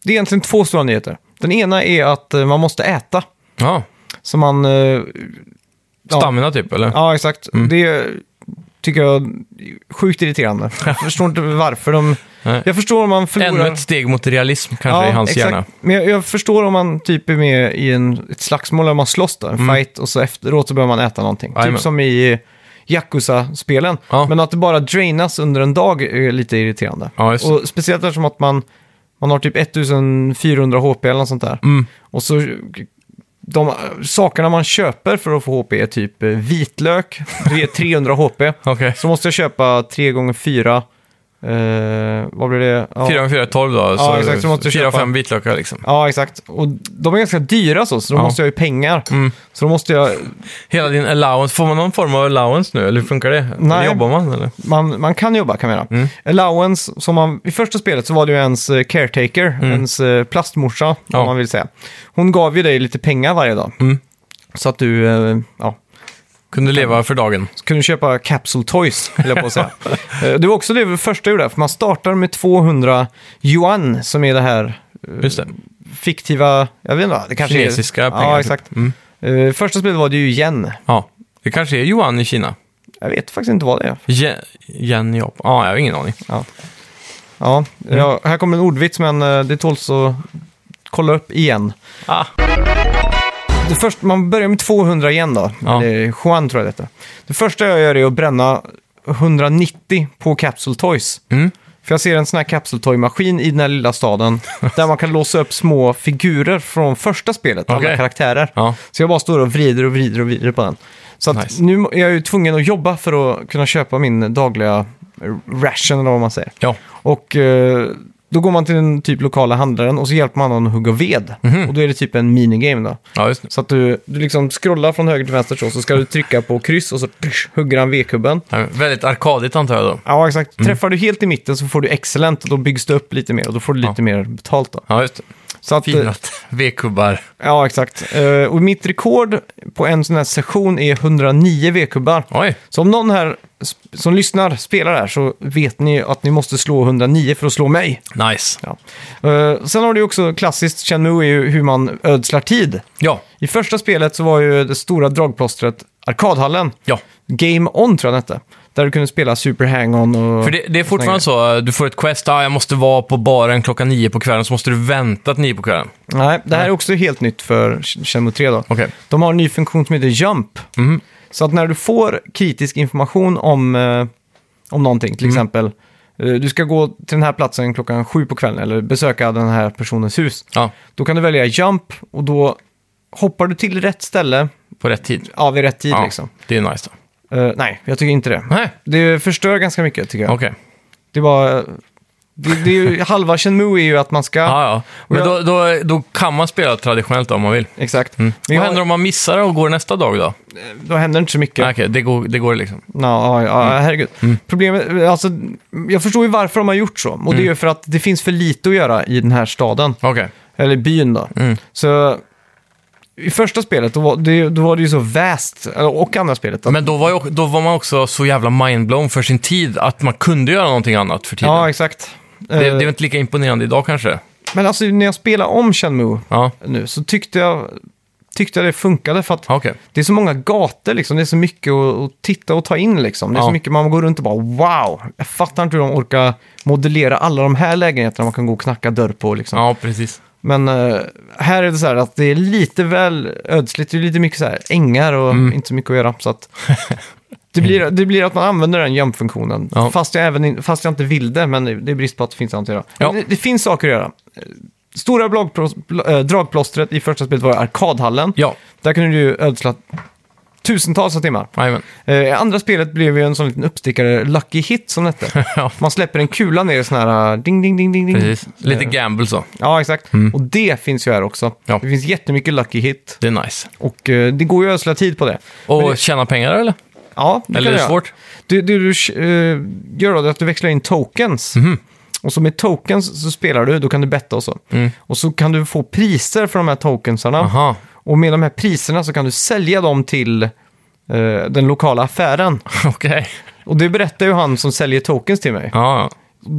Speaker 2: det är egentligen två stora nyheter. Den ena är att eh, man måste äta.
Speaker 1: ja.
Speaker 2: Så man... Eh, ja.
Speaker 1: Stamina typ, eller?
Speaker 2: Ja, exakt. Det tycker jag är sjukt irriterande. Jag förstår inte varför de...
Speaker 1: Nej.
Speaker 2: Jag förstår om man förlorar...
Speaker 1: Ännu ett steg mot realism kanske i hans hjärna.
Speaker 2: Men jag, jag förstår om man typ är med i en, ett slagsmål där man slåss, då, en fight, och så efteråt så behöver man äta någonting.
Speaker 1: Mm. Jajamän.
Speaker 2: Typ som i Yakuza-spelen.
Speaker 1: Ja.
Speaker 2: Men att det bara drainas under en dag är lite irriterande.
Speaker 1: Ja, just det.
Speaker 2: och speciellt eftersom att man, man har typ 1400 HP eller något sånt där.
Speaker 1: Mm.
Speaker 2: Och så... De sakerna man köper för att få HP är typ eh, vitlök, det ger 300 HP.
Speaker 1: Okej.
Speaker 2: Så måste jag köpa 3 gånger 4 eh, vad blir det? Ja.
Speaker 1: 4 gånger 4 är 12 då.
Speaker 2: Ja, exakt, så måste du
Speaker 1: 4
Speaker 2: köpa-
Speaker 1: 5 vitlökar liksom.
Speaker 2: Ja, exakt. Och de är ganska dyra så, så då
Speaker 1: Ja. Mm.
Speaker 2: måste jag ju pengar. Så då måste jag...
Speaker 1: Hela din allowance, får man någon form av allowance nu eller hur funkar det?
Speaker 2: Nej.
Speaker 1: Eller jobbar man eller?
Speaker 2: Man, man kan jobba kan man göra.
Speaker 1: Mm.
Speaker 2: Allowance, som man... I första spelet så var det ju ens eh, caretaker, ens eh, plastmorsa,
Speaker 1: Mm. Ja. Mm.
Speaker 2: om man vill säga. Hon gav ju dig lite pengar varje dag. Så att du eh, ja,
Speaker 1: Kunde leva för dagen.
Speaker 2: så kunde köpa capsule toys, höll jag på att säga. Eh, det var också det första jag gjorde, för man startar med 200 yuan, som är det här eh,
Speaker 1: Just det.
Speaker 2: fiktiva... Jag vet inte, vad, det kanske
Speaker 1: Kinesiska
Speaker 2: är...
Speaker 1: pengar,
Speaker 2: Ja,
Speaker 1: typ.
Speaker 2: exakt. Eh, första spelet var det ju yen.
Speaker 1: Ja. Det kanske är Johan i Kina.
Speaker 2: Jag vet faktiskt inte vad det är.
Speaker 1: Je- Jen i Japan. Ja, jag har ingen aning.
Speaker 2: Ja, ja,
Speaker 1: Mm.
Speaker 2: ja här kommer en ordvits men eh, det tåls att kolla upp igen.
Speaker 1: Ah.
Speaker 2: Det först, man börjar med 200 igen då.
Speaker 1: Ja.
Speaker 2: Eller Juan tror jag det heter. Det första jag gör är att bränna 190 på Capsule Toys.
Speaker 1: Mm.
Speaker 2: För jag ser en sån här Capsule Toy-maskin i den här lilla staden där man kan låsa upp små figurer från första spelet, alla
Speaker 1: Okej.
Speaker 2: karaktärer.
Speaker 1: Ja.
Speaker 2: Så jag bara står och vrider och vrider och vrider på den. Så att
Speaker 1: Nice.
Speaker 2: nu är jag ju tvungen att jobba för att kunna köpa min dagliga ration eller vad man säger.
Speaker 1: Ja.
Speaker 2: Och eh, då går man till den typ lokala handlaren och så hjälper man honom att hugga ved. Och då är det typ en minigame då.
Speaker 1: Ja, just det.
Speaker 2: Så att du, du liksom scrollar från höger till vänster så, så ska du trycka på kryss och så tsch, hugger han vedkubben.
Speaker 1: Ja, men Väldigt arkadigt antar jag då.
Speaker 2: Ja, exakt. Träffar du helt i mitten så får du excellent och då byggs det upp lite mer och då får du lite mer betalt då.
Speaker 1: Ja, just det.
Speaker 2: Så att, eh,
Speaker 1: Finat. V-kubbar.
Speaker 2: ja, exakt. Eh, och mitt rekord på en sån här session är 109 vedkubbar.
Speaker 1: Oj.
Speaker 2: Så om någon här sp- som lyssnar spelar här så vet ni att ni måste slå 109 för att slå mig.
Speaker 1: Nice.
Speaker 2: Ja. Eh, sen har du ju också klassiskt Shenmue är ju hur man ödslar tid.
Speaker 1: Ja.
Speaker 2: I första spelet så var ju det stora dragplåstret arkadhallen.
Speaker 1: Ja.
Speaker 2: Game On tror jag den hette. Där du kunde spela Super Hang-On och...
Speaker 1: För det, det är fortfarande så, du får ett quest, ah, jag måste vara på baren klockan nio på kvällen, så måste du vänta till nio på kvällen.
Speaker 2: Nej, det här är också helt nytt för Sh- Shenmue 3 då.
Speaker 1: Okej. Mhm.
Speaker 2: De har en ny funktion som heter Jump. Så att när du får kritisk information om, eh, om någonting,
Speaker 1: Mhm.
Speaker 2: till exempel eh, du ska gå till den här platsen klockan sju på kvällen eller besöka den här personens hus.
Speaker 1: Ja,
Speaker 2: Då kan du välja jump och då hoppar du till rätt ställe
Speaker 1: på rätt tid.
Speaker 2: ja, vid rätt tid.
Speaker 1: Ja,
Speaker 2: Liksom.
Speaker 1: Det är nice då.
Speaker 2: Eh, nej, jag tycker inte det.
Speaker 1: Nej,
Speaker 2: Det förstör ganska mycket tycker jag.
Speaker 1: okej.
Speaker 2: Det var... Det, det är ju, halva Shenmue är ju att man ska...
Speaker 1: Ja, ja. Men då, då, då kan man spela traditionellt om man vill.
Speaker 2: Exakt. Men
Speaker 1: Mm. Vad
Speaker 2: jag,
Speaker 1: händer om man missar och går nästa dag då?
Speaker 2: Då händer inte så mycket.
Speaker 1: Okej, det, går, det går liksom.
Speaker 2: Nå, ja, ja, herregud.
Speaker 1: Mm.
Speaker 2: Problemet, alltså, jag förstår ju varför de har gjort så. Och det är
Speaker 1: Mm.
Speaker 2: ju för att det finns för lite att göra i den här staden.
Speaker 1: Okej.
Speaker 2: Eller byn då.
Speaker 1: Mm.
Speaker 2: Så i första spelet, då var det, då var det ju så väst. Och andra spelet. Att,
Speaker 1: Men då var, ju, då var man också så jävla mindblown för sin tid att man kunde göra någonting annat för tiden.
Speaker 2: ja, exakt.
Speaker 1: det, det
Speaker 2: Eh,
Speaker 1: är väl inte lika imponerande idag kanske?
Speaker 2: Men alltså när jag spelar om Shenmue
Speaker 1: Ja,
Speaker 2: nu så tyckte jag, tyckte jag det funkade. För att
Speaker 1: Ja, okej.
Speaker 2: det är så många gator liksom. Det är så mycket att, att titta och ta in liksom. Det är
Speaker 1: Ja.
Speaker 2: så mycket man går runt och bara wow. Jag fattar inte hur de orkar modellera alla de här lägenheterna man kan gå och knacka dörr på liksom.
Speaker 1: Ja, precis.
Speaker 2: Men eh, här är det så här att det är lite väl ödsligt. Det är lite mycket så här ängar och
Speaker 1: Mm.
Speaker 2: inte så mycket att göra. Så att det, blir, det blir att man använder den gömfunktionen.
Speaker 1: Ja.
Speaker 2: Fast, jag även, in- fast jag inte vill det, men det det är brist på att det finns annat att göra.
Speaker 1: Ja.
Speaker 2: Men Det, det finns saker att göra. Eh, Stora blagpros- bl- eh, dragplåstret i första spelet var arkadhallen.
Speaker 1: Ja,
Speaker 2: Där kunde du ju ödsla tusentals av timmar.
Speaker 1: jajamän.
Speaker 2: Eh, I andra spelet blev ju en sån liten uppstickare, Lucky Hit, som det hette.
Speaker 1: Ja.
Speaker 2: Man släpper en kula ner i sån här eh, ding, ding, ding, ding, ding.
Speaker 1: Precis.
Speaker 2: Eh.
Speaker 1: Lite gamble så.
Speaker 2: Ja, exakt. Och det finns ju här också.
Speaker 1: Mm. Ja.
Speaker 2: Det finns jättemycket lucky hit.
Speaker 1: Det är nice.
Speaker 2: Och eh, det går ju att ödsla tid på det.
Speaker 1: Och
Speaker 2: Men det-
Speaker 1: tjäna pengar eller?
Speaker 2: Ja, det
Speaker 1: eller är
Speaker 2: kan
Speaker 1: det
Speaker 2: jag.
Speaker 1: svårt?
Speaker 2: Du, du, du eh, gör då att du växlar in tokens.
Speaker 1: Mhm.
Speaker 2: Och så med tokens så spelar du, då kan du betta och så. Och så kan du få priser för de här tokensarna.
Speaker 1: Mm. Aha.
Speaker 2: Och med de här priserna så kan du sälja dem till eh, den lokala affären.
Speaker 1: Okej.
Speaker 2: Och det berättar ju han som säljer tokens till mig.
Speaker 1: Ja, ja.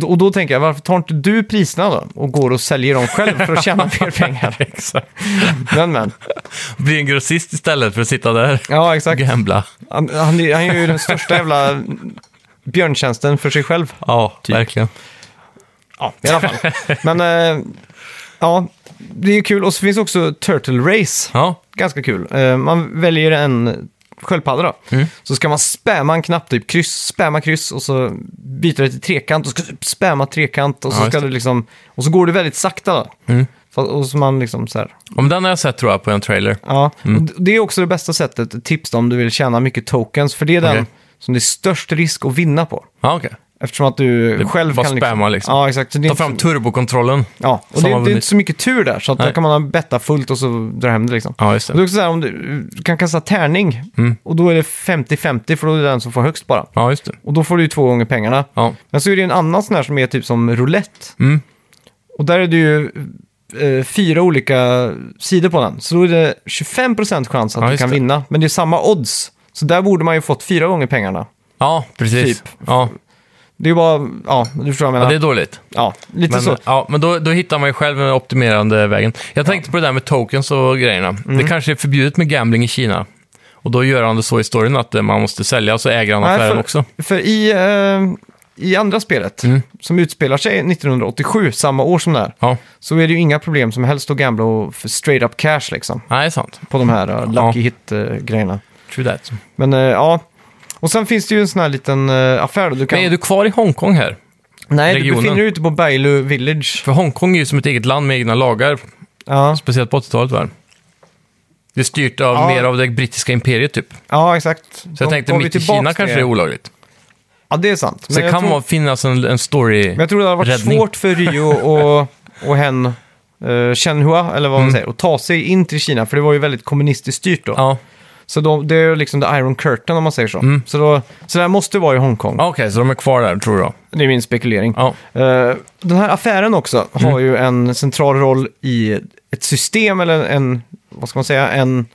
Speaker 2: Och då tänker jag, varför tar inte du priserna då? Och går och säljer dem själv för att tjäna mer pengar.
Speaker 1: Exakt.
Speaker 2: Men men.
Speaker 1: Bli en grossist istället för att sitta där
Speaker 2: Ja,
Speaker 1: och
Speaker 2: exakt.
Speaker 1: gambla.
Speaker 2: Han, han, är- han gör ju den största jävla björntjänsten för sig själv.
Speaker 1: Ja,
Speaker 2: Typ.
Speaker 1: verkligen.
Speaker 2: Ja, i alla fall. Men eh, ja, det är ju kul. Och så finns också Turtle Race.
Speaker 1: Ja,
Speaker 2: Ganska kul. Eh, man väljer en sköldpadda då.
Speaker 1: Mm.
Speaker 2: Så ska man spamma en knapp, typ kryss, spamma kryss och så byter du till trekant och så ska du spamma trekant och
Speaker 1: Ja,
Speaker 2: så,
Speaker 1: just Mm.
Speaker 2: ska du liksom, och så går det väldigt sakta då. Så, och så man liksom så här,
Speaker 1: om den har jag sett tror jag på en trailer.
Speaker 2: Ja,
Speaker 1: Mm.
Speaker 2: och d- det är också det bästa sättet, ett tips då, om du vill tjäna mycket tokens, för det är den
Speaker 1: Okej.
Speaker 2: som det är störst risk att vinna på.
Speaker 1: Ja, okej.
Speaker 2: Eftersom att du själv
Speaker 1: bara
Speaker 2: kan...
Speaker 1: spamma liksom.
Speaker 2: Ja, exakt. Så det är
Speaker 1: Ta
Speaker 2: inte-
Speaker 1: fram turbokontrollen.
Speaker 2: Ja, och
Speaker 1: som
Speaker 2: det, det är
Speaker 1: har vunnit.
Speaker 2: inte så mycket tur där, så att då
Speaker 1: Nej.
Speaker 2: kan man betta fullt och så dra hem det liksom.
Speaker 1: Ja, Mm. just
Speaker 2: Och det är
Speaker 1: det.
Speaker 2: också så här, om du, du kan kasta tärning, och då är det 50-50, för då är det den som får högst bara.
Speaker 1: Ja, just det.
Speaker 2: Och då får du ju två gånger pengarna.
Speaker 1: Ja,
Speaker 2: Men så är det ju en annan sån här som är typ som roulette.
Speaker 1: Mm.
Speaker 2: Och där är det ju eh, fyra olika sidor på den. Så då är det 25% chans att
Speaker 1: Ja,
Speaker 2: du
Speaker 1: just
Speaker 2: kan
Speaker 1: det.
Speaker 2: vinna. Men det är samma odds. Så där borde man ju fått fyra gånger pengarna.
Speaker 1: ja precis.
Speaker 2: Typ.
Speaker 1: Ja.
Speaker 2: Det är ju bara, ja, du förstår vad jag
Speaker 1: ja,
Speaker 2: menar.
Speaker 1: det är
Speaker 2: Ja,
Speaker 1: dåligt.
Speaker 2: lite
Speaker 1: Men,
Speaker 2: så.
Speaker 1: ja, men då, då hittar man ju själv den optimerande vägen. Jag tänkte på det där med tokens och grejerna.
Speaker 2: Mm.
Speaker 1: Det kanske är förbjudet med gambling i Kina. Och då gör han det så i storyn att eh, man måste sälja och så äger han
Speaker 2: Nej,
Speaker 1: affären
Speaker 2: för,
Speaker 1: också. Mm.
Speaker 2: För i, eh, i andra spelet, som utspelar sig 1987, samma år som det här,
Speaker 1: Ja,
Speaker 2: så är det ju inga problem som helst att gambla och för straight up cash liksom.
Speaker 1: nej, det är sant.
Speaker 2: På de här eh,
Speaker 1: Ja.
Speaker 2: lucky hit-grejerna.
Speaker 1: True that.
Speaker 2: Men eh, ja, och sen finns det ju en sån här liten eh, affär då. Du kan...
Speaker 1: Men är du kvar i Hongkong här?
Speaker 2: Nej, du
Speaker 1: regionen?
Speaker 2: befinner dig ute på Bailu Village.
Speaker 1: För Hongkong är ju som ett eget land med egna lagar,
Speaker 2: Ja,
Speaker 1: speciellt på 80-talet va? Det är styrt av
Speaker 2: Ja.
Speaker 1: mer av det brittiska imperiet typ.
Speaker 2: ja exakt.
Speaker 1: Så jag tänkte mitt i Kina kanske det är olagligt.
Speaker 2: Ja, det är sant.
Speaker 1: Så det
Speaker 2: jag
Speaker 1: kan
Speaker 2: tror,
Speaker 1: vara- finnas en, en story...
Speaker 2: men jag tror det hade varit
Speaker 1: räddning.
Speaker 2: svårt för Rio och, och hen, eh, Shenhua, eller vad
Speaker 1: Mm.
Speaker 2: man säger, att ta sig in till Kina, för det var ju väldigt kommunistiskt styrt då.
Speaker 1: Ja,
Speaker 2: Så de, det är ju liksom the iron curtain om man säger så. Så, då, så det här måste vara i Hongkong.
Speaker 1: Mm. Ja, okej, så de är kvar där tror jag.
Speaker 2: Det är min spekulering.
Speaker 1: Ja, Mm.
Speaker 2: Eh, den här affären också har ju en central roll i ett system eller en, vad ska man säga, en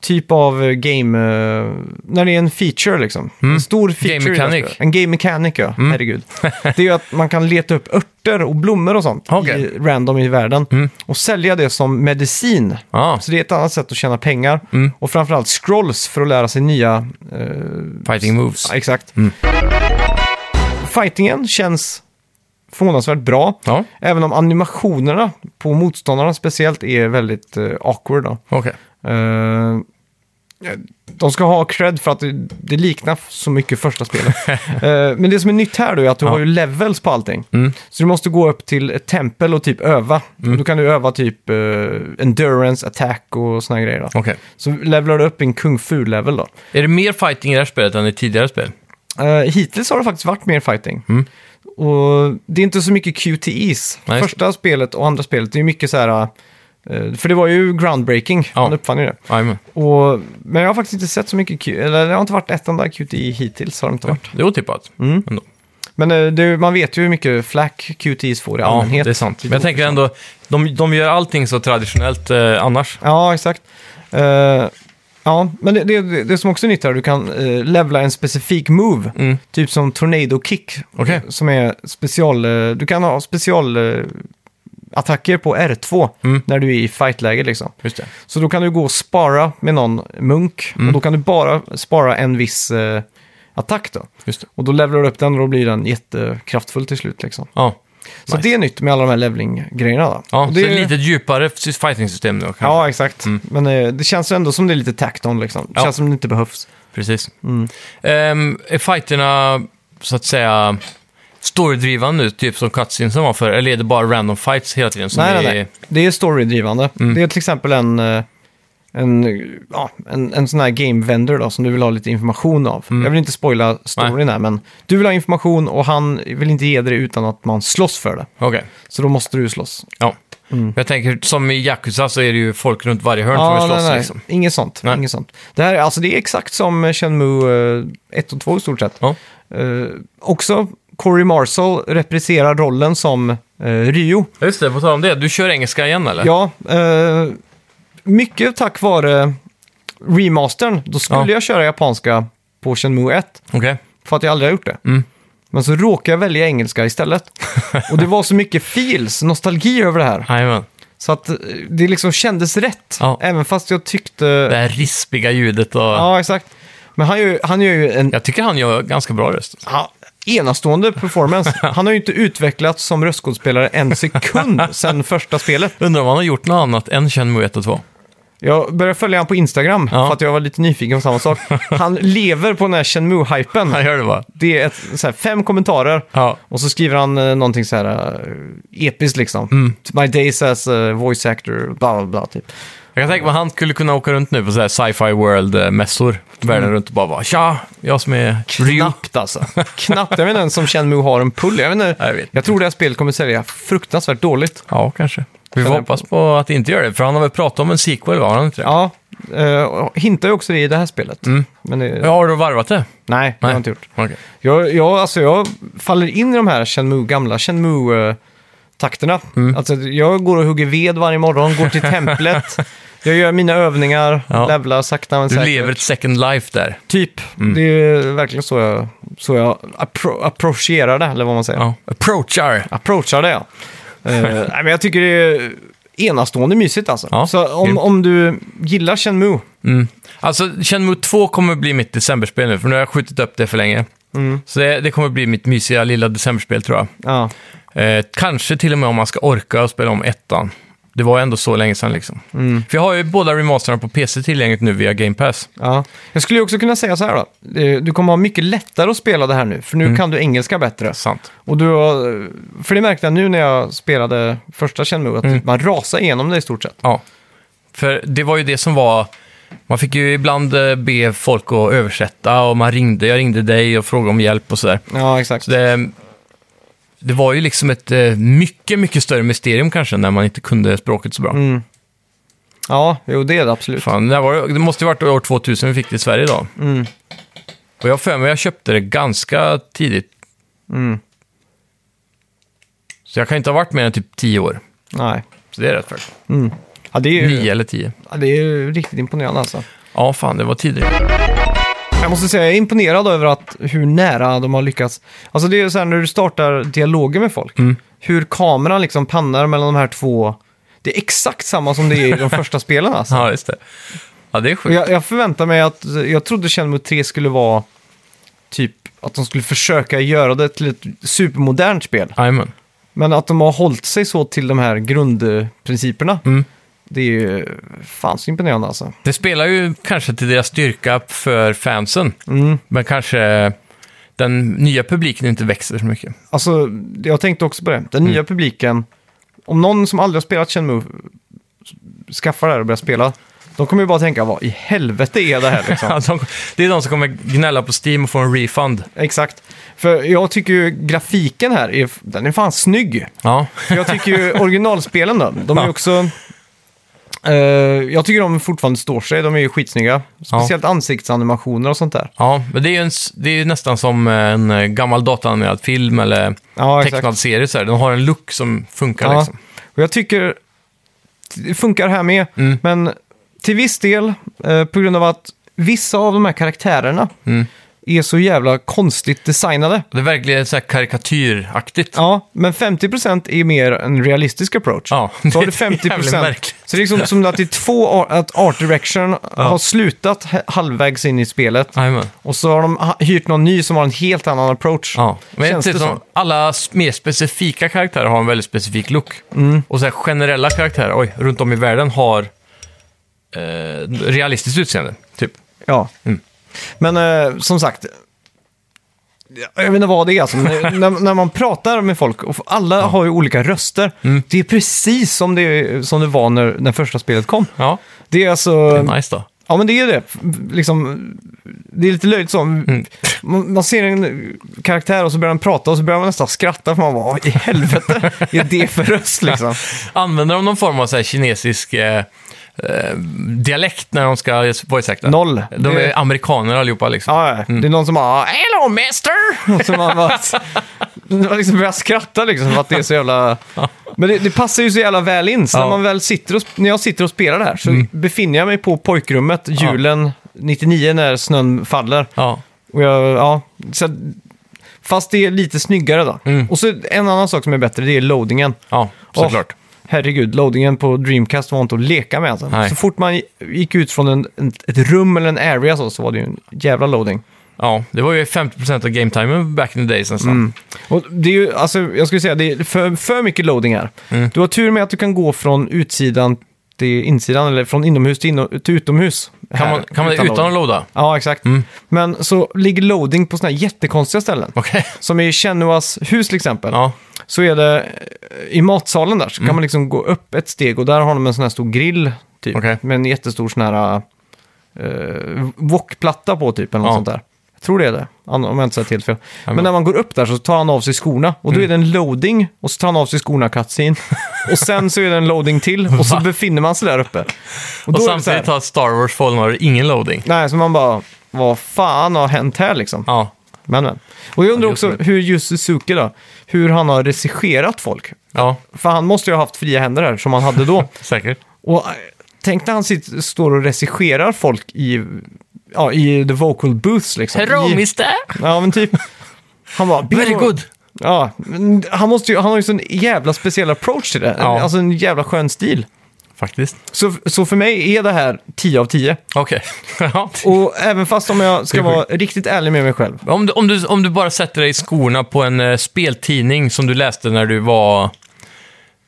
Speaker 2: typ av eh, game, eh, när det är en feature liksom. En stor feature.
Speaker 1: Mm. Game
Speaker 2: i det här
Speaker 1: mechanic. Mm.
Speaker 2: spelet. En game mechanic, ja. Herregud. Det är ju att man kan leta upp örter och blommor och sånt
Speaker 1: Okej. Mm.
Speaker 2: i, random i världen och sälja det som medicin.
Speaker 1: ja
Speaker 2: Så det är ett annat sätt att tjäna pengar. Och framförallt scrolls för att lära sig nya... eh,
Speaker 1: fighting moves.
Speaker 2: Ja, exakt. Fightingen känns förvånansvärt bra.
Speaker 1: Ja,
Speaker 2: Även om animationerna på motståndarna speciellt är väldigt eh, awkward. Då.
Speaker 1: okej.
Speaker 2: Eh, de ska ha cred för att det, det liknar så mycket första spelet. Eh, men det som är nytt här då är att du har ju levels på allting.
Speaker 1: Mm.
Speaker 2: Så du måste gå upp till ett tempel och typ öva. Och då kan du öva typ eh, endurance, attack och såna här grejer. Då.
Speaker 1: okej.
Speaker 2: Så levlar du upp en kung fu-level då.
Speaker 1: Är det mer fighting i det här spelet än i tidigare spel?
Speaker 2: Eh, hittills har det faktiskt varit mer fighting. Och det är inte så mycket QTEs.
Speaker 1: Mm. Nej, just-
Speaker 2: Första spelet och andra spelet, det är mycket så här... eh, För det var ju groundbreaking,
Speaker 1: Ja.
Speaker 2: han uppfann ju det.
Speaker 1: Jajamän.
Speaker 2: Och, men jag har faktiskt inte sett så mycket Q, eller det har inte varit ett enda QTE hittills. Har det inte varit.
Speaker 1: Det är otippat.
Speaker 2: Mm.
Speaker 1: Ändå.
Speaker 2: Men eh, det, man vet ju hur mycket flack QTEs får i
Speaker 1: Ja,
Speaker 2: allmänhet.
Speaker 1: det är sant.
Speaker 2: Lite
Speaker 1: Men jag tänker ändå, de, de gör allting så traditionellt eh, annars.
Speaker 2: Ja, exakt. Eh, ja, men det, det, det som också är nytt här, du kan uh, levla en specifik move.
Speaker 1: Mm.
Speaker 2: Typ som Tornado Kick. eh,
Speaker 1: Okej.
Speaker 2: Som är special... eh, du kan ha special... eh, attacker på R2
Speaker 1: Mm.
Speaker 2: när du är i fightläge liksom.
Speaker 1: Just det.
Speaker 2: Så då kan du gå och spara med någon munk
Speaker 1: Mm.
Speaker 2: och då kan du bara spara en viss eh, attack då.
Speaker 1: Just det.
Speaker 2: Och då levlar du upp den och då blir den jättekraftfull till slut liksom.
Speaker 1: Ja.
Speaker 2: Så
Speaker 1: Nice.
Speaker 2: det är nytt med alla de här leveling-grejerna då.
Speaker 1: Ja,
Speaker 2: Och
Speaker 1: så ett lite djupare fighting-system nu kanske.
Speaker 2: Ja, exakt. Men eh, det känns ändå som det är lite tacked-on liksom. Det
Speaker 1: Ja.
Speaker 2: känns som det inte behövs.
Speaker 1: Precis.
Speaker 2: Mm.
Speaker 1: Ehm, är fighterna, så att säga, storydrivande nu, typ som cutscenesen var för Eller är det bara random fights hela tiden? som
Speaker 2: nej,
Speaker 1: är- Mm.
Speaker 2: nej, nej. Det är storydrivande. Det är till exempel en, eh, en, eh, ja, en, en sån här game vendor då, som du vill ha lite information av.
Speaker 1: Mm.
Speaker 2: Jag vill inte spoila storyn här, men du vill ha information och han vill inte ge dig det utan att man slåss för det.
Speaker 1: Okej.
Speaker 2: Så då måste du slåss.
Speaker 1: Ja. Jag tänker, som i Yakuza så är det ju folk runt varje hörn
Speaker 2: Mm. Ja,
Speaker 1: som vill
Speaker 2: nej,
Speaker 1: slåss
Speaker 2: nej.
Speaker 1: liksom.
Speaker 2: Inget sånt.
Speaker 1: Nej.
Speaker 2: Inget sånt. Det, här, är- alltså, det är exakt som eh, Shenmue eh, 1 och 2 i stort sett.
Speaker 1: Ja.
Speaker 2: Eh, också Corey Marsall repriserar rollen som eh, Ryo.
Speaker 1: Just det, på tal om det. Du kör engelska igen eller?
Speaker 2: Ja, eh, mycket tack vare remastern. Då skulle
Speaker 1: Ja.
Speaker 2: jag köra japanska på Shenmue 1,
Speaker 1: Okej.
Speaker 2: för att jag aldrig har gjort det.
Speaker 1: Mm.
Speaker 2: Men så råkade jag välja engelska istället. Och det var så mycket feels, nostalgi över det här.
Speaker 1: Jajamän.
Speaker 2: Så att eh, det liksom kändes rätt,
Speaker 1: Ja.
Speaker 2: även fast jag tyckte...
Speaker 1: Det här rispiga ljudet och...
Speaker 2: Ja, exakt. Men han gör, han gör ju en
Speaker 1: Jag tycker han gör ganska bra röst.
Speaker 2: Ja, enastående performance. Han har ju inte utvecklats som röstskådespelare en sekund sedan första spelet.
Speaker 1: Undrar om han har gjort något annat än Shenmue 1 och 2.
Speaker 2: Jag började följa honom på Instagram
Speaker 1: Ja.
Speaker 2: för att jag var lite nyfiken på samma sak. Han lever på den här Shenmue-hypen.
Speaker 1: Han gör det bara.
Speaker 2: Det är ett, så här, fem kommentarer
Speaker 1: Ja.
Speaker 2: och så skriver han eh, någonting så här eh, episkt liksom.
Speaker 1: Mm.
Speaker 2: My days as a voice actor, bla bla bla typ.
Speaker 1: Jag kan tänka mig att han skulle kunna åka runt nu på så här sci-fi world-mässor. Världen runt och bara vara tja, jag som är Ryu.
Speaker 2: Knappt alltså. Knappt. Jag vet inte ens om Shenmue har en pull. Jag, vet inte,
Speaker 1: Jag vet
Speaker 2: jag tror det här spelet kommer sälja fruktansvärt dåligt.
Speaker 1: Ja, kanske. Vi får hoppas på att det inte gör det, för han har väl pratat om en sequel, var han inte det?
Speaker 2: Ja, uh, hintar ju också det i det här spelet. Men det,
Speaker 1: Mm. Ja, har du varvat det?
Speaker 2: Nej, det har jag inte gjort.
Speaker 1: Okej.
Speaker 2: Jag, jag, alltså, jag faller in i de här Shenmue, gamla Shenmue-takterna.
Speaker 1: Mm.
Speaker 2: Alltså, jag går och hugger ved varje morgon, går till templet, jag gör mina övningar,
Speaker 1: Ja.
Speaker 2: levlar sakta men
Speaker 1: Du
Speaker 2: säkert.
Speaker 1: lever Mm. ett second life där.
Speaker 2: Typ. Det är verkligen så jag, så jag appro- approcherar det, eller vad man säger.
Speaker 1: Ja. Approachar!
Speaker 2: Approachar det, ja. Eh, nej, men jag tycker det är enastående mysigt alltså.
Speaker 1: Ja,
Speaker 2: så om,
Speaker 1: grymt.
Speaker 2: om du gillar Shenmue,
Speaker 1: Mm. Alltså, Shenmue 2 kommer bli mitt decemberspel nu, för nu har jag skjutit upp det för länge. Så det, det kommer bli mitt mysiga lilla decemberspel, tror jag.
Speaker 2: ja,
Speaker 1: Eh, kanske till och med om man ska orka och spela om ettan. Det var ändå så länge sedan liksom. För jag har ju båda remasterna på PC tillgängligt nu via Game Pass.
Speaker 2: Ja. Jag skulle ju också kunna säga så här då. Eh, Du kommer ha mycket lättare att spela det här nu, för nu
Speaker 1: Mm.
Speaker 2: kan du engelska bättre.
Speaker 1: Sant.
Speaker 2: Och du har, eh, för det märkte jag nu när jag spelade första Shenmue att typ
Speaker 1: Mm.
Speaker 2: man rasar igenom det i stort sett.
Speaker 1: Ja. För det var ju det som var... Man fick ju ibland eh, be folk att översätta och man ringde. Jag ringde dig och frågade om hjälp och sådär.
Speaker 2: Ja, exakt.
Speaker 1: Så det, eh, det var ju liksom ett eh, mycket, mycket större mysterium kanske när man inte kunde språket så bra.
Speaker 2: Mm. Ja, jo det är det absolut.
Speaker 1: Fan, när var det, det måste ju varit år 2000 vi fick det i Sverige då.
Speaker 2: Mm.
Speaker 1: Och jag har för mig jag köpte det ganska tidigt.
Speaker 2: Mm.
Speaker 1: Så jag kan inte ha varit mer än typ 10 år.
Speaker 2: Nej.
Speaker 1: Så det är rätt faktiskt.
Speaker 2: Mm. Ja, det är
Speaker 1: 9
Speaker 2: ju
Speaker 1: eller 10.
Speaker 2: ja, det är ju riktigt imponerande alltså.
Speaker 1: Ja, fan, det var tidigt.
Speaker 2: Jag måste säga, jag är imponerad över att, hur nära de har lyckats. Alltså det är ju så här när du startar dialoger med folk,
Speaker 1: Mm.
Speaker 2: hur kameran liksom pannar mellan de här två. Det är exakt samma som det är i de första spelen alltså.
Speaker 1: Ja, just det. Ja, det är
Speaker 2: Och
Speaker 1: sjukt.
Speaker 2: Jag, jag förväntar mig att, jag trodde Shenmue 3 skulle vara typ att de skulle försöka göra det till ett supermodernt spel.
Speaker 1: Jajamän.
Speaker 2: Men att de har hållit sig så till de här grundprinciperna,
Speaker 1: Mm.
Speaker 2: det är ju fan så imponerande alltså.
Speaker 1: Det spelar ju kanske till deras styrka för fansen.
Speaker 2: Mm.
Speaker 1: Men kanske den nya publiken inte växer så mycket.
Speaker 2: Alltså, jag tänkte också på det. Den nya publiken, om någon som aldrig har spelat Shenmue skaffar det här och börjar spela, De kommer ju bara tänka, vad i helvete är det här liksom?
Speaker 1: Ja, de, det är de som kommer gnälla på Steam och få en refund.
Speaker 2: Exakt. För jag tycker ju grafiken här, är, den är fan snygg.
Speaker 1: Ja,
Speaker 2: För Jag tycker ju originalspelen då, de är ju
Speaker 1: Ja.
Speaker 2: också... eh, jag tycker de fortfarande står sig, de är ju skitsnygga. Speciellt ansiktsanimationer och sånt där.
Speaker 1: ja men det är ju en, s- det är ju nästan som en eh, gammal datanimerad film eller
Speaker 2: Ja,
Speaker 1: tecknad serie. Så här. Den har en look som funkar
Speaker 2: Ja.
Speaker 1: liksom.
Speaker 2: Och jag tycker det funkar här med,
Speaker 1: Mm.
Speaker 2: men till viss del eh, på grund av att vissa av de här karaktärerna
Speaker 1: Mm.
Speaker 2: är så jävla konstigt designade.
Speaker 1: Det är verkligen så här karikatyraktigt.
Speaker 2: Ja, men 50% är mer en realistisk approach.
Speaker 1: Ja,
Speaker 2: Så har du
Speaker 1: det är jävligt
Speaker 2: 50 procent.
Speaker 1: märkligt.
Speaker 2: Så det är liksom som att det är två, ar- att art direction har slutat h- halvvägs in i spelet.
Speaker 1: Jajamän.
Speaker 2: Och så har de ha- hyrt någon ny som har en helt annan approach.
Speaker 1: Ja, men
Speaker 2: Känns
Speaker 1: typ
Speaker 2: det
Speaker 1: som
Speaker 2: så?
Speaker 1: alla s- mer specifika karaktärer har en väldigt specifik look.
Speaker 2: Mm.
Speaker 1: Och så här generella karaktärer, oj, runt om i världen har eh, realistiskt utseende, typ.
Speaker 2: Ja.
Speaker 1: Mm.
Speaker 2: Men eh, som sagt, jag vet inte vad det är alltså. men när, när man pratar med folk, och alla har ju olika röster.
Speaker 1: Mm.
Speaker 2: Det är precis som det, som det var när, när första spelet kom.
Speaker 1: Ja,
Speaker 2: Det är alltså...
Speaker 1: nice då.
Speaker 2: Ja, men det är ju det. Liksom, det är lite löjligt så. Man, man ser en karaktär och så börjar den prata och så börjar man nästan skratta för man bara, vad i helvete är det för röst liksom?
Speaker 1: Använder de någon form av så här kinesisk eh, eh, dialekt när de ska voice acta?
Speaker 2: Noll.
Speaker 1: De
Speaker 2: Det-
Speaker 1: är amerikaner allihopa liksom.
Speaker 2: Ja, ja. Det är någon som bara, hello mister! Och så man bara, man liksom börjar skratta liksom för att det är så jävla... Men det, det passar ju så jävla väl in. Så när,
Speaker 1: Ja.
Speaker 2: man väl sitter och, när jag sitter och spelar det här så befinner jag mig på pojkrummet julen 99 när snön faller.
Speaker 1: Ja.
Speaker 2: Och jag, ja, så, fast det är lite snyggare då.
Speaker 1: Mm.
Speaker 2: Och så en annan sak som är bättre, det är loadingen.
Speaker 1: Ja, såklart.
Speaker 2: Herregud, loadingen på Dreamcast var inte att leka med. Alltså.
Speaker 1: Nej.
Speaker 2: Så fort man gick ut från en, en, ett rum eller en area så, så var det ju en jävla loading.
Speaker 1: Ja, det var ju 50% av game timen back in the days nästan.
Speaker 2: Mm. Och det är ju, alltså, jag skulle säga, det är för, för mycket loading här.
Speaker 1: Mm.
Speaker 2: Du har tur med att du kan gå från utsidan till insidan, eller från inomhus till, inom, till utomhus.
Speaker 1: Kan
Speaker 2: här,
Speaker 1: man, kan man det utan Mm. att loada?
Speaker 2: Ja, exakt. Men så ligger loading på sådana här jättekonstiga ställen.
Speaker 1: Okej.
Speaker 2: Som i Chenuas hus till exempel.
Speaker 1: Ja. Mm.
Speaker 2: så är det eh, i matsalen där så kan man liksom gå upp ett steg och där har de en sån här stor grill typ.
Speaker 1: Okej.
Speaker 2: Med en jättestor sån här uh, wokplatta på typ eller något
Speaker 1: Ja.
Speaker 2: sånt där. Jag tror det är det, an- om jag inte säger helt fel.
Speaker 1: men- Mm.
Speaker 2: Men när man går upp där så tar han av sig skorna och då är det en loading och så tar han av sig skorna cutscene. och sen så är det en loading till och så
Speaker 1: Va?
Speaker 2: befinner man sig där uppe. då är
Speaker 1: Och,
Speaker 2: det så här-
Speaker 1: samtidigt har Star Wars Fallen Order ingen loading.
Speaker 2: Nej, så man bara, vad fan har hänt här liksom?
Speaker 1: Ja.
Speaker 2: Men, men. Och jag undrar
Speaker 1: Ja, det är
Speaker 2: också
Speaker 1: otroligt.
Speaker 2: hur Yu Suzuki då, hur han har regisserat folk.
Speaker 1: Ja,
Speaker 2: För han måste ju ha haft fria händer här, som han hade då.
Speaker 1: säkert.
Speaker 2: Och eh, tänk när han sitter, står och regisserar folk i, ja, i the vocal booths liksom. I-
Speaker 1: mister!
Speaker 2: Ja, men typ. Han bara...
Speaker 1: Very good!
Speaker 2: Ja, men han, måste ju, han har ju sån jävla speciell approach till det.
Speaker 1: Ja.
Speaker 2: Alltså en jävla skön stil.
Speaker 1: Faktiskt.
Speaker 2: Så, så för mig är det här 10 av 10.
Speaker 1: Okej. Ja.
Speaker 2: Och även fast om jag
Speaker 1: Det
Speaker 2: ska
Speaker 1: är
Speaker 2: vara riktigt ärlig med mig själv.
Speaker 1: om, du, om, du, om du bara sätter dig i skorna på en eh, speltidning som du läste när du var...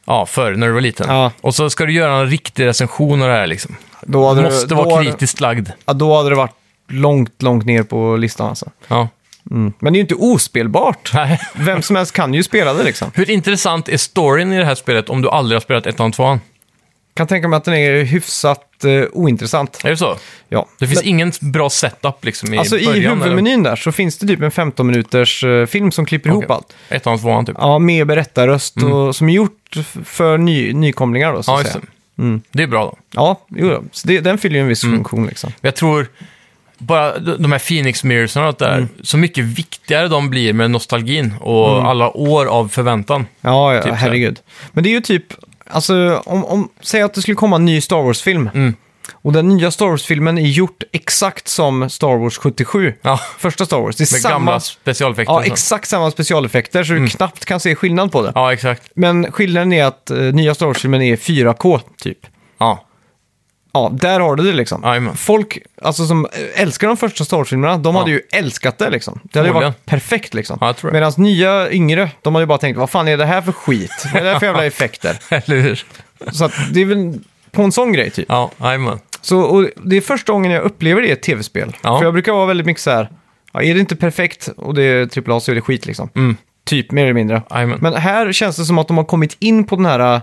Speaker 1: Ja, förr, när du var liten.
Speaker 2: Ja.
Speaker 1: Och så ska du göra en riktig recension av det här liksom.
Speaker 2: Då hade
Speaker 1: Du
Speaker 2: det-
Speaker 1: måste
Speaker 2: då
Speaker 1: vara
Speaker 2: hade-
Speaker 1: kritiskt lagd.
Speaker 2: Ja, då hade det varit långt, långt ner på listan alltså.
Speaker 1: Ja.
Speaker 2: Mm. Men det är ju inte ospelbart.
Speaker 1: Nej.
Speaker 2: Vem som helst kan ju spela det liksom.
Speaker 1: Hur intressant är storyn i det här spelet om du aldrig har spelat ettan och tvåan?
Speaker 2: Kan tänka mig att den är hyfsat eh, ointressant.
Speaker 1: Är det så?
Speaker 2: Ja.
Speaker 1: Det finns
Speaker 2: Men,
Speaker 1: ingen bra setup liksom i
Speaker 2: alltså i
Speaker 1: början? eller?
Speaker 2: huvudmenyn där så finns det typ en 15 minuters eh, film som klipper ihop
Speaker 1: Okej.
Speaker 2: allt.
Speaker 1: Ettan och tvåan typ?
Speaker 2: Ja, med berättarröst och som är gjort f- för ny, nykomlingar då så
Speaker 1: Ja,
Speaker 2: att
Speaker 1: just
Speaker 2: säga.
Speaker 1: det. Mm. Det är bra då.
Speaker 2: Ja, jo, då. så det, den fyller ju en viss
Speaker 1: Mm.
Speaker 2: funktion liksom.
Speaker 1: Jag tror bara d- de här Phoenix Mirrors och allt det där,
Speaker 2: Mm.
Speaker 1: så mycket viktigare de blir med nostalgin och alla år av förväntan.
Speaker 2: Ja, ja
Speaker 1: Typ så.
Speaker 2: herregud. Men det är ju typ, alltså om, om, säg att det skulle komma en ny Star Wars-film.
Speaker 1: Mm.
Speaker 2: Och den nya Star Wars-filmen är gjort exakt som Star Wars 77.
Speaker 1: Ja,
Speaker 2: Första Star Wars. Det är
Speaker 1: med
Speaker 2: samma,
Speaker 1: gamla specialeffekter.
Speaker 2: ja,
Speaker 1: och så. Mm.
Speaker 2: exakt samma specialeffekter så du knappt kan se skillnad på det.
Speaker 1: ja, exakt.
Speaker 2: Men skillnaden är att eh, nya Star Wars-filmen är 4K, typ.
Speaker 1: Ja.
Speaker 2: Ja, där har du det liksom.
Speaker 1: Jajamän.
Speaker 2: Folk alltså, som eh, älskar de första Star Wars-filmerna, de hade
Speaker 1: Ja.
Speaker 2: ju älskat det liksom. Det hade ju
Speaker 1: Förmodligen.
Speaker 2: varit perfekt liksom.
Speaker 1: Ja, jag tror det.
Speaker 2: Medan nya yngre, de hade ju bara tänkt, vad fan är det här för skit? Vad är det här för jävla effekter?
Speaker 1: Eller hur?
Speaker 2: Så att det är väl på en sån grej typ.
Speaker 1: Ja, jajamän.
Speaker 2: Så, och det är första gången jag upplever det i ett tv-spel.
Speaker 1: Ja.
Speaker 2: För jag brukar vara väldigt mycket så här, ja, är det inte perfekt och det är AAA så är det skit liksom.
Speaker 1: Mm.
Speaker 2: Typ, mer eller mindre.
Speaker 1: Jajamän.
Speaker 2: Men här känns det som att de har kommit in på den här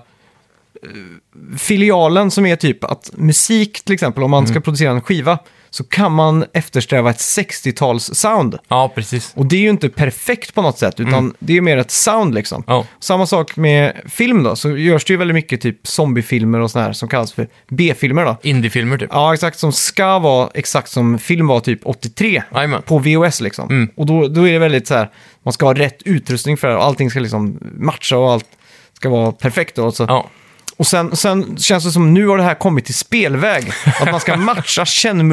Speaker 2: filialen som är typ att musik till exempel, om man
Speaker 1: Mm.
Speaker 2: ska producera en skiva, så kan man eftersträva ett 60-tals-sound.
Speaker 1: Ja, precis.
Speaker 2: Och det är ju inte perfekt på något sätt, utan det är mer ett sound liksom.
Speaker 1: Mm. Ja,
Speaker 2: Samma sak med film då, så görs det ju väldigt mycket typ zombiefilmer och sådär här som kallas för B-filmer då.
Speaker 1: indiefilmer typ.
Speaker 2: Ja, exakt som ska vara exakt som film var typ 83
Speaker 1: Jajamän.
Speaker 2: på VOS liksom.
Speaker 1: Mm.
Speaker 2: Och då, då är det väldigt så här, man ska ha rätt utrustning för det och allting ska liksom matcha och allt ska vara perfekt. Då, alltså.
Speaker 1: Ja,
Speaker 2: Och sen, sen känns det som nu har det här kommit till spelväg. Att man ska matcha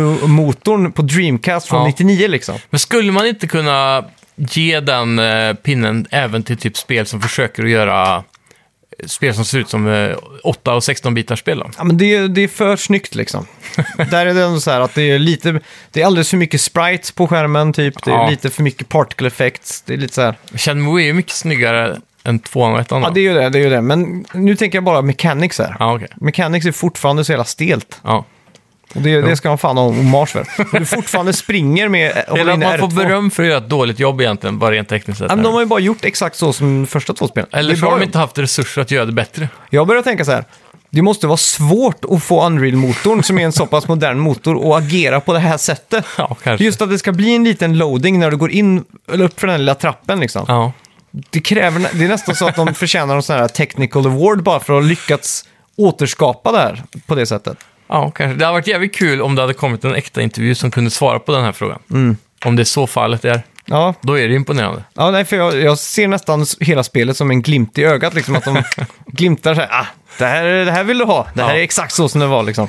Speaker 2: Shenmue-motorn på Dreamcast från
Speaker 1: Ja.
Speaker 2: 99 liksom.
Speaker 1: Men skulle man inte kunna ge den eh, pinnen även till typ spel som försöker att göra spel som ser ut som eh, 8 och 16-bitars spel då?
Speaker 2: Ja, men det, är- det är för snyggt liksom. Där är det ändå så här att det är lite, det är alldeles för mycket sprites på skärmen typ. Det är
Speaker 1: Ja.
Speaker 2: lite för mycket particle effects. Det är lite så här.
Speaker 1: Shenmue är ju mycket snyggare än 2 och 1
Speaker 2: Ja, det är ju det, det är ju det. Men nu tänker jag bara mechanics här.
Speaker 1: Ja, okej.
Speaker 2: Mechanics är fortfarande så jävla stelt.
Speaker 1: Ja.
Speaker 2: Och det, det ska man fan ha hommage för. Och du fortfarande springer med håller
Speaker 1: Eller att
Speaker 2: inne
Speaker 1: man får
Speaker 2: R2.
Speaker 1: beröm för att göra ett dåligt jobb egentligen, bara rent tekniskt sett.
Speaker 2: Ja, men de har ju bara gjort exakt så som första två spelen.
Speaker 1: Eller
Speaker 2: Det är
Speaker 1: så
Speaker 2: bra
Speaker 1: har de
Speaker 2: jobb.
Speaker 1: inte haft resurser att göra det bättre.
Speaker 2: Jag börjar tänka så här. Det måste vara svårt att få Unreal-motorn, som är en så pass modern motor, att agera på det här sättet.
Speaker 1: Ja, kanske.
Speaker 2: Just att det ska bli en liten loading när du går in, eller upp för den lilla trappen liksom.
Speaker 1: Ja.
Speaker 2: Det, kräver, nä- det är nästan så att de förtjänar en sån här technical award bara för att ha lyckats återskapa det här på det sättet.
Speaker 1: ja, kanske. Det hade varit jävligt kul om det hade kommit en äkta intervju som kunde svara på den här frågan.
Speaker 2: Mm.
Speaker 1: Om det är så fallet är,
Speaker 2: Ja,
Speaker 1: då är det imponerande.
Speaker 2: ja nej, för jag, jag ser nästan s- hela spelet som en glimt i ögat, liksom att de glimtar så här, ah, det här, det här vill du ha, det här
Speaker 1: Ja.
Speaker 2: är exakt så som det var liksom.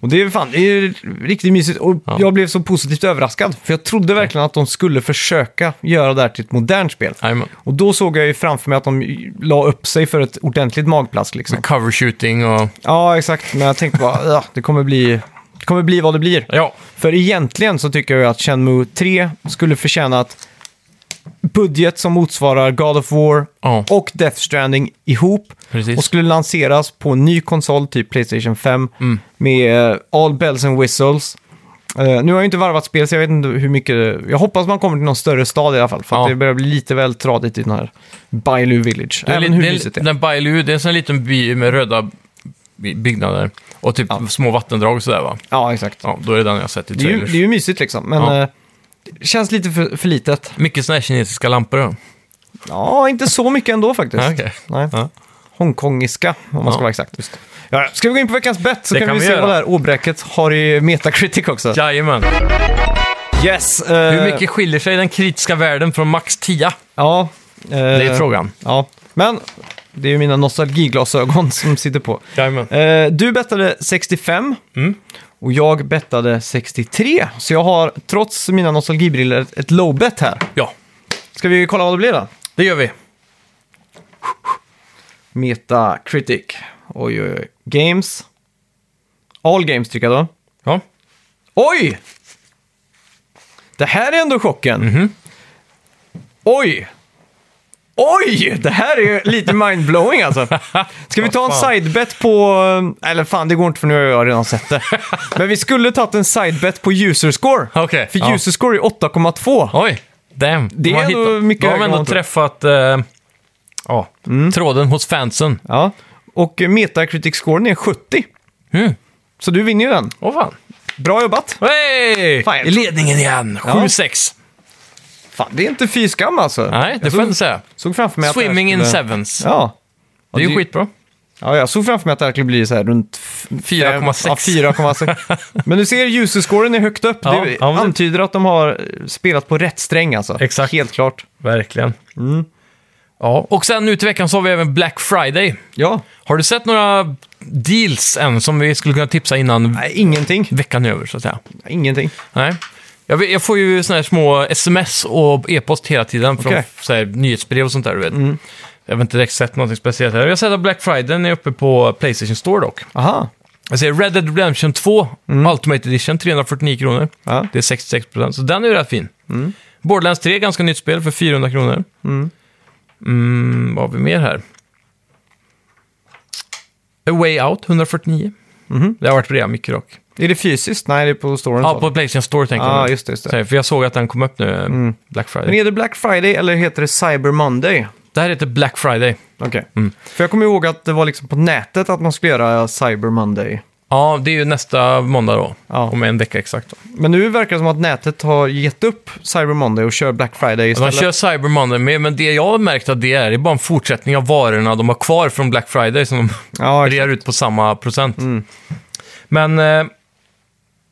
Speaker 2: Och det är ju fan, det är ju riktigt mysigt. Och
Speaker 1: Ja.
Speaker 2: jag blev så positivt överraskad, för jag trodde verkligen att de skulle försöka göra det här till ett modernt spel.
Speaker 1: Jajamän.
Speaker 2: Och då såg jag ju framför mig att de la upp sig för ett ordentligt magplask liksom.
Speaker 1: Med cover shooting och...
Speaker 2: Ja, exakt. Men jag tänkte bara, ja, det kommer bli... Det kommer bli vad det blir.
Speaker 1: Ja,
Speaker 2: För egentligen så tycker jag ju att Shenmue 3 skulle förtjäna att budget som motsvarar God of War
Speaker 1: Ja.
Speaker 2: och Death Stranding ihop
Speaker 1: Precis.
Speaker 2: och skulle lanseras på en ny konsol, typ Playstation 5,
Speaker 1: Mm.
Speaker 2: med eh, all bells and whistles. Eh, nu har jag ju inte varvat spel, så jag vet inte hur mycket... Jag hoppas man kommer till någon större stad i alla fall, för
Speaker 1: Ja.
Speaker 2: att det börjar bli lite väl tradigt i den här Bailu Village.
Speaker 1: Det är,
Speaker 2: Även
Speaker 1: li-
Speaker 2: hur
Speaker 1: det är,
Speaker 2: mysigt det är.
Speaker 1: Den Bailu, det är en sån liten by med röda by- byggnader och typ små vattendrag och sådär va?
Speaker 2: Ja, exakt.
Speaker 1: Ja, då är det den jag har sett i
Speaker 2: Det är, ju,
Speaker 1: trailers.
Speaker 2: det är ju mysigt liksom, men
Speaker 1: Ja.
Speaker 2: eh, det känns lite för, för litet.
Speaker 1: Mycket såna här kinesiska lampor då?
Speaker 2: Ja, inte så mycket ändå faktiskt.
Speaker 1: Ja, okej.
Speaker 2: Nej.
Speaker 1: Ja.
Speaker 2: Hongkongiska, om man ska
Speaker 1: Ja.
Speaker 2: vara exakt. Ja, ska vi gå in på veckans bett så
Speaker 1: Det
Speaker 2: kan,
Speaker 1: kan
Speaker 2: vi,
Speaker 1: vi
Speaker 2: se
Speaker 1: göra.
Speaker 2: vad det här åbräket har i Metacritic också.
Speaker 1: Jajamän.
Speaker 2: Yes! eh,
Speaker 1: Hur mycket skiljer sig den kritiska världen från max 10?
Speaker 2: Ja. eh,
Speaker 1: Det är frågan.
Speaker 2: Ja, men det är ju mina nostalgiglasögon som sitter på.
Speaker 1: Jajamän.
Speaker 2: Eh, du bettade 65
Speaker 1: Mm.
Speaker 2: och jag bettade 63. Så jag har, trots mina nostalgibriller, ett- ett low bet här.
Speaker 1: Ja,
Speaker 2: Ska vi kolla vad det blir då?
Speaker 1: det gör vi.
Speaker 2: Metacritic. Oj, oj, oj. Games. All games tycker jag då.
Speaker 1: Ja.
Speaker 2: Oj! Det här är ändå chocken.
Speaker 1: Mhm.
Speaker 2: Oj! Oj! Det här är ju lite mindblowing alltså. Ska vi ta en
Speaker 1: fan.
Speaker 2: sidebet på... eh, Eller fan, det går inte för nu har jag redan sett det. Men vi skulle tagit en sidebet på user score.
Speaker 1: Okej,
Speaker 2: För
Speaker 1: ja.
Speaker 2: user score är 8,2.
Speaker 1: Oj, damn.
Speaker 2: Det
Speaker 1: De har
Speaker 2: är ändå
Speaker 1: hittat-
Speaker 2: mycket
Speaker 1: Då har
Speaker 2: högre Mm.
Speaker 1: man ändå
Speaker 2: än man tror.
Speaker 1: träffat eh, ja, tråden hos fansen.
Speaker 2: Ja. Och Metacritic-scoren är 70.
Speaker 1: Mm.
Speaker 2: Så du vinner ju den.
Speaker 1: Åh fan.
Speaker 2: Bra jobbat!
Speaker 1: Hey!
Speaker 2: Fan, jag-
Speaker 1: I ledningen igen. 7-6.
Speaker 2: Fan, det är inte fy skam alltså.
Speaker 1: Nej,
Speaker 2: jag
Speaker 1: det får jag
Speaker 2: såg,
Speaker 1: inte säga.
Speaker 2: såg framför mig att det här
Speaker 1: Swimming in
Speaker 2: skulle-
Speaker 1: sevens.
Speaker 2: Ja.
Speaker 1: Det är ju
Speaker 2: det-
Speaker 1: skitbra.
Speaker 2: ja, jag såg framför mig att det här skulle bli så här runt... f-
Speaker 1: 4,6.
Speaker 2: Ja, 4,6. Men du ser, user-scoren är högt upp.
Speaker 1: Ja,
Speaker 2: det
Speaker 1: ja, men det-
Speaker 2: antyder att de har eh, spelat på rätt sträng alltså.
Speaker 1: Exakt.
Speaker 2: Helt klart.
Speaker 1: Verkligen. Ja. Och sen nu till veckan så har vi även Black Friday.
Speaker 2: Ja,
Speaker 1: Har du sett några deals än som vi skulle kunna tipsa innan
Speaker 2: nej, ingenting.
Speaker 1: veckan är över så att säga?
Speaker 2: Ingenting.
Speaker 1: Nej. Jag, vet- jag får ju såna här små sms och e-post hela tiden från
Speaker 2: Okej. Mm.
Speaker 1: så här, nyhetsbrev och sånt där du vet. Jag har inte direkt sett någonting speciellt här. Jag har sett att Black Friday är uppe på Playstation Store dock.
Speaker 2: Aha.
Speaker 1: Jag ser Red Dead Redemption 2 Ultimate Edition 349 kronor.
Speaker 2: Mm. Ja. Mm.
Speaker 1: Det är 66 procent, så den är ju rätt fin. Borderlands 3, ganska nytt spel för 400 kronor. Mm, vad har vi mer här? A Way Out, 149.
Speaker 2: Mm-hmm.
Speaker 1: Det har varit rea mycket dock.
Speaker 2: Är det fysiskt? Nej, det är på storyn.
Speaker 1: Ja,
Speaker 2: sa
Speaker 1: på
Speaker 2: de.
Speaker 1: Playstation Store tänker
Speaker 2: Ja,
Speaker 1: jag. nu.
Speaker 2: Ah, just det, Mm. just det.
Speaker 1: Så här, För jag såg att den kom upp nu, Black Friday.
Speaker 2: Men är det Black Friday eller heter det Cyber Monday?
Speaker 1: Det Det här heter Black Friday.
Speaker 2: Okej.
Speaker 1: Mm.
Speaker 2: För jag kommer ihåg att det var liksom på nätet att man skulle göra Cyber Monday.
Speaker 1: Ja, det är ju nästa måndag då.
Speaker 2: Ja.
Speaker 1: Om en vecka exakt. Då.
Speaker 2: Men nu verkar det som att nätet har gett upp Cyber Monday och kör Black Friday
Speaker 1: De
Speaker 2: istället.
Speaker 1: kör Cyber Monday med, men det jag har märkt att det är, det är bara en fortsättning av varorna de har kvar från Black Friday som de
Speaker 2: Ja, exakt. Mm.
Speaker 1: rear ut på samma procent. Men eh,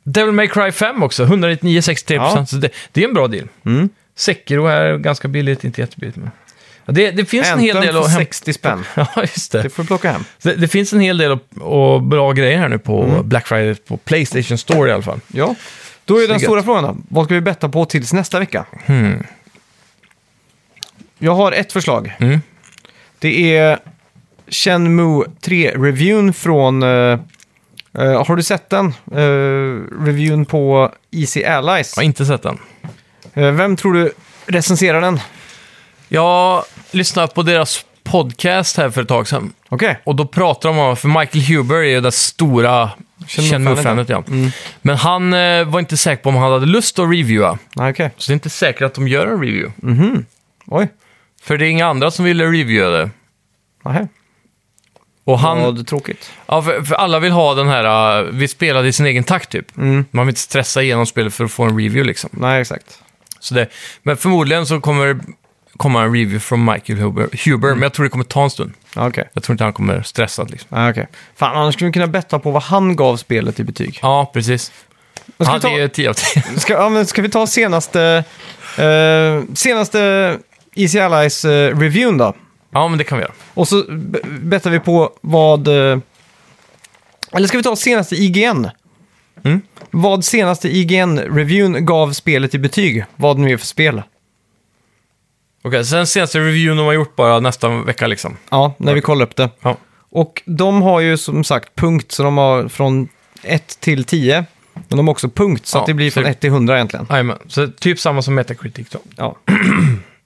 Speaker 1: Devil May Cry 5 också, 199,63
Speaker 2: Ja.
Speaker 1: procent. Så det, det är en bra deal.
Speaker 2: Mm.
Speaker 1: Sekiro är ganska billigt, inte jättebilligt. Men... Ja, det, det finns en hel
Speaker 2: Anthem
Speaker 1: del
Speaker 2: för
Speaker 1: att hämta.
Speaker 2: 60 spänn.
Speaker 1: Ja, just det.
Speaker 2: Det får du plocka hem.
Speaker 1: Så Det, det finns en hel del och, och bra grejer här nu på Black Friday, på Playstation Store i alla fall.
Speaker 2: Ja. Då är den
Speaker 1: Snyggt.
Speaker 2: stora frågan då. Vad ska vi betta på tills nästa vecka?
Speaker 1: Hmm.
Speaker 2: Jag har ett förslag.
Speaker 1: Mm.
Speaker 2: Det är Shenmue 3-reviewn från... eh, eh, har du sett den? Eh, reviewn på Easy Allies.
Speaker 1: Jag har inte sett den.
Speaker 2: Eh, vem tror du recenserar den?
Speaker 1: Jag lyssnade på deras podcast här för ett tag sedan.
Speaker 2: Okej.
Speaker 1: Och då pratar de om, för Michael Huber är ju det stora Shenmue-fanet. Ja. Men han eh, var inte säker på om han hade lust att reviewa.
Speaker 2: Nej, okej.
Speaker 1: Så det är inte säkert att de gör en review.
Speaker 2: Oj.
Speaker 1: För det är inga andra som ville reviewa det.
Speaker 2: Nähä.
Speaker 1: Och han,
Speaker 2: Vad tråkigt.
Speaker 1: Ja, för, för alla vill ha den här, uh, vi spelade i sin egen takt typ. Man vill inte stressa igenom spelet för att få en review liksom.
Speaker 2: Nej, exakt.
Speaker 1: Så det, men förmodligen så kommer det komma en review från Michael Huber, Huber men jag tror det kommer ta en stund.
Speaker 2: Ja, Okej.
Speaker 1: Jag tror inte han kommer stressad liksom.
Speaker 2: Okay. Fan, annars skulle vi kunna betta på vad han gav spelet i betyg.
Speaker 1: Ja, precis.
Speaker 2: Men
Speaker 1: Han
Speaker 2: ska, vi
Speaker 1: är 10 av 10.
Speaker 2: ta, ska, ja, men ska vi ta senaste, eh, senaste Easy Allies-reviewn då?
Speaker 1: Ja, men det kan vi göra.
Speaker 2: Och så b- bettar vi på vad... eh, Eller ska vi ta senaste IGN?
Speaker 1: Mm.
Speaker 2: Vad senaste IGN-reviewn gav spelet i betyg? Vad det nu är för spel.
Speaker 1: Okej, sen senaste reviewen de har gjort bara nästa vecka liksom.
Speaker 2: Ja, när vi kollar upp det.
Speaker 1: Ja.
Speaker 2: Och de har ju som sagt punkt, så de har från 1 till 10. Men de har också punkt, så
Speaker 1: Ja,
Speaker 2: att det blir
Speaker 1: så
Speaker 2: från
Speaker 1: det-
Speaker 2: 1 till 100 egentligen.
Speaker 1: Jajamän, så typ samma som Metacritic då.
Speaker 2: Ja.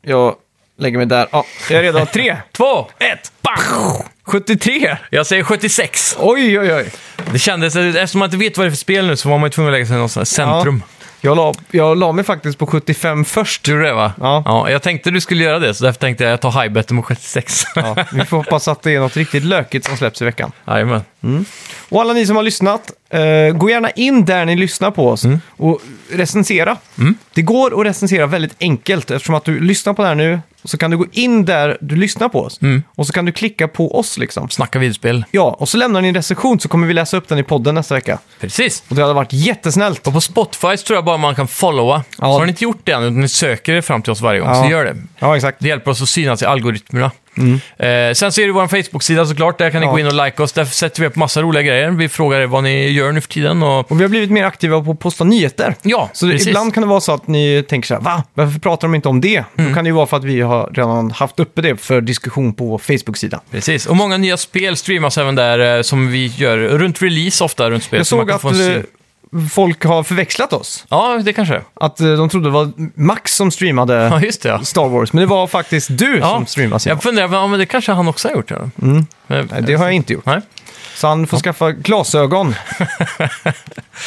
Speaker 2: Jag lägger mig där. Ja, jag är redan 3.
Speaker 1: Två, ett, bang!
Speaker 2: 73!
Speaker 1: Jag säger 76.
Speaker 2: Oj, oj, oj.
Speaker 1: Det kändes, eftersom man inte vet vad det är för spel nu så var man ju tvungen att lägga sig i något sånt här centrum.
Speaker 2: Jag la, jag la mig faktiskt på 75 först.
Speaker 1: Du det va?
Speaker 2: Ja.
Speaker 1: Jag tänkte du skulle göra det, så därför tänkte jag att jag tar highbetten mot 76.
Speaker 2: Ja, vi får hoppas att det är något riktigt lökigt som släpps i veckan.
Speaker 1: Jajamän.
Speaker 2: Och alla ni som har lyssnat, eh, gå gärna in där ni lyssnar på oss och recensera. Det går att recensera väldigt enkelt eftersom att du lyssnar på det här nu så kan du gå in där du lyssnar på oss och så kan du klicka på oss liksom.
Speaker 1: Snacka videospel.
Speaker 2: Ja, och så lämnar ni en recension så kommer vi läsa upp den i podden nästa vecka.
Speaker 1: Precis.
Speaker 2: Och det hade varit jättesnällt.
Speaker 1: Och på Spotify så tror jag bara man kan followa.
Speaker 2: Ja.
Speaker 1: Så har ni inte gjort det än, utan ni söker er fram till oss varje gång,
Speaker 2: Ja.
Speaker 1: så gör det.
Speaker 2: Ja, exakt.
Speaker 1: Det hjälper oss att synas i algoritmerna. Eh, sen så är det vår Facebook-sida såklart, där kan ni
Speaker 2: Ja.
Speaker 1: gå in och like oss. Där sätter vi upp massa roliga grejer. Vi frågar er vad ni gör nu för tiden. Och...
Speaker 2: Och vi har blivit mer aktiva på att posta nyheter.
Speaker 1: Ja,
Speaker 2: Så
Speaker 1: precis.
Speaker 2: ibland kan det vara så att ni tänker så här, va? Varför pratar de inte om det?
Speaker 1: Mm.
Speaker 2: Då kan det ju vara för att vi har redan haft uppe det för diskussion på vår Facebook-sida.
Speaker 1: Precis, och många nya spel streamas även där eh, som vi gör runt release ofta runt spel.
Speaker 2: Jag
Speaker 1: så man
Speaker 2: såg
Speaker 1: kan
Speaker 2: att
Speaker 1: få en syn.
Speaker 2: eh, folk har förväxlat oss.
Speaker 1: Ja, det kanske är.
Speaker 2: Att eh, de trodde det var Max som
Speaker 1: Ja,
Speaker 2: streamade
Speaker 1: just det. Ja.
Speaker 2: Star Wars, men det var faktiskt du som streamade. Simon.
Speaker 1: Jag funderar, ja, men det kanske han också har gjort. Ja. Men,
Speaker 2: Mm. Nej, det har jag inte gjort.
Speaker 1: Nej.
Speaker 2: Så han får skaffa glasögon.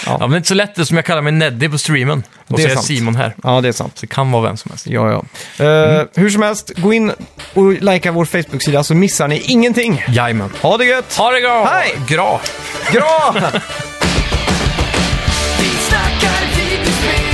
Speaker 1: Ja, men det är inte så lätt det som jag kallar mig Neddy på streamen. Och
Speaker 2: Det
Speaker 1: så
Speaker 2: är
Speaker 1: är
Speaker 2: sant.
Speaker 1: Simon här. Mm.
Speaker 2: Ja, det är sant.
Speaker 1: Så det kan vara vem som helst.
Speaker 2: Ja, ja. Eh, Hur som helst, gå in och likea vår Facebook-sida så missar ni ingenting.
Speaker 1: Jajamän.
Speaker 2: Ha det gött!
Speaker 1: Ha det bra!
Speaker 2: Hej!
Speaker 1: Gra!
Speaker 2: Gra!
Speaker 3: Vi snackar videospel,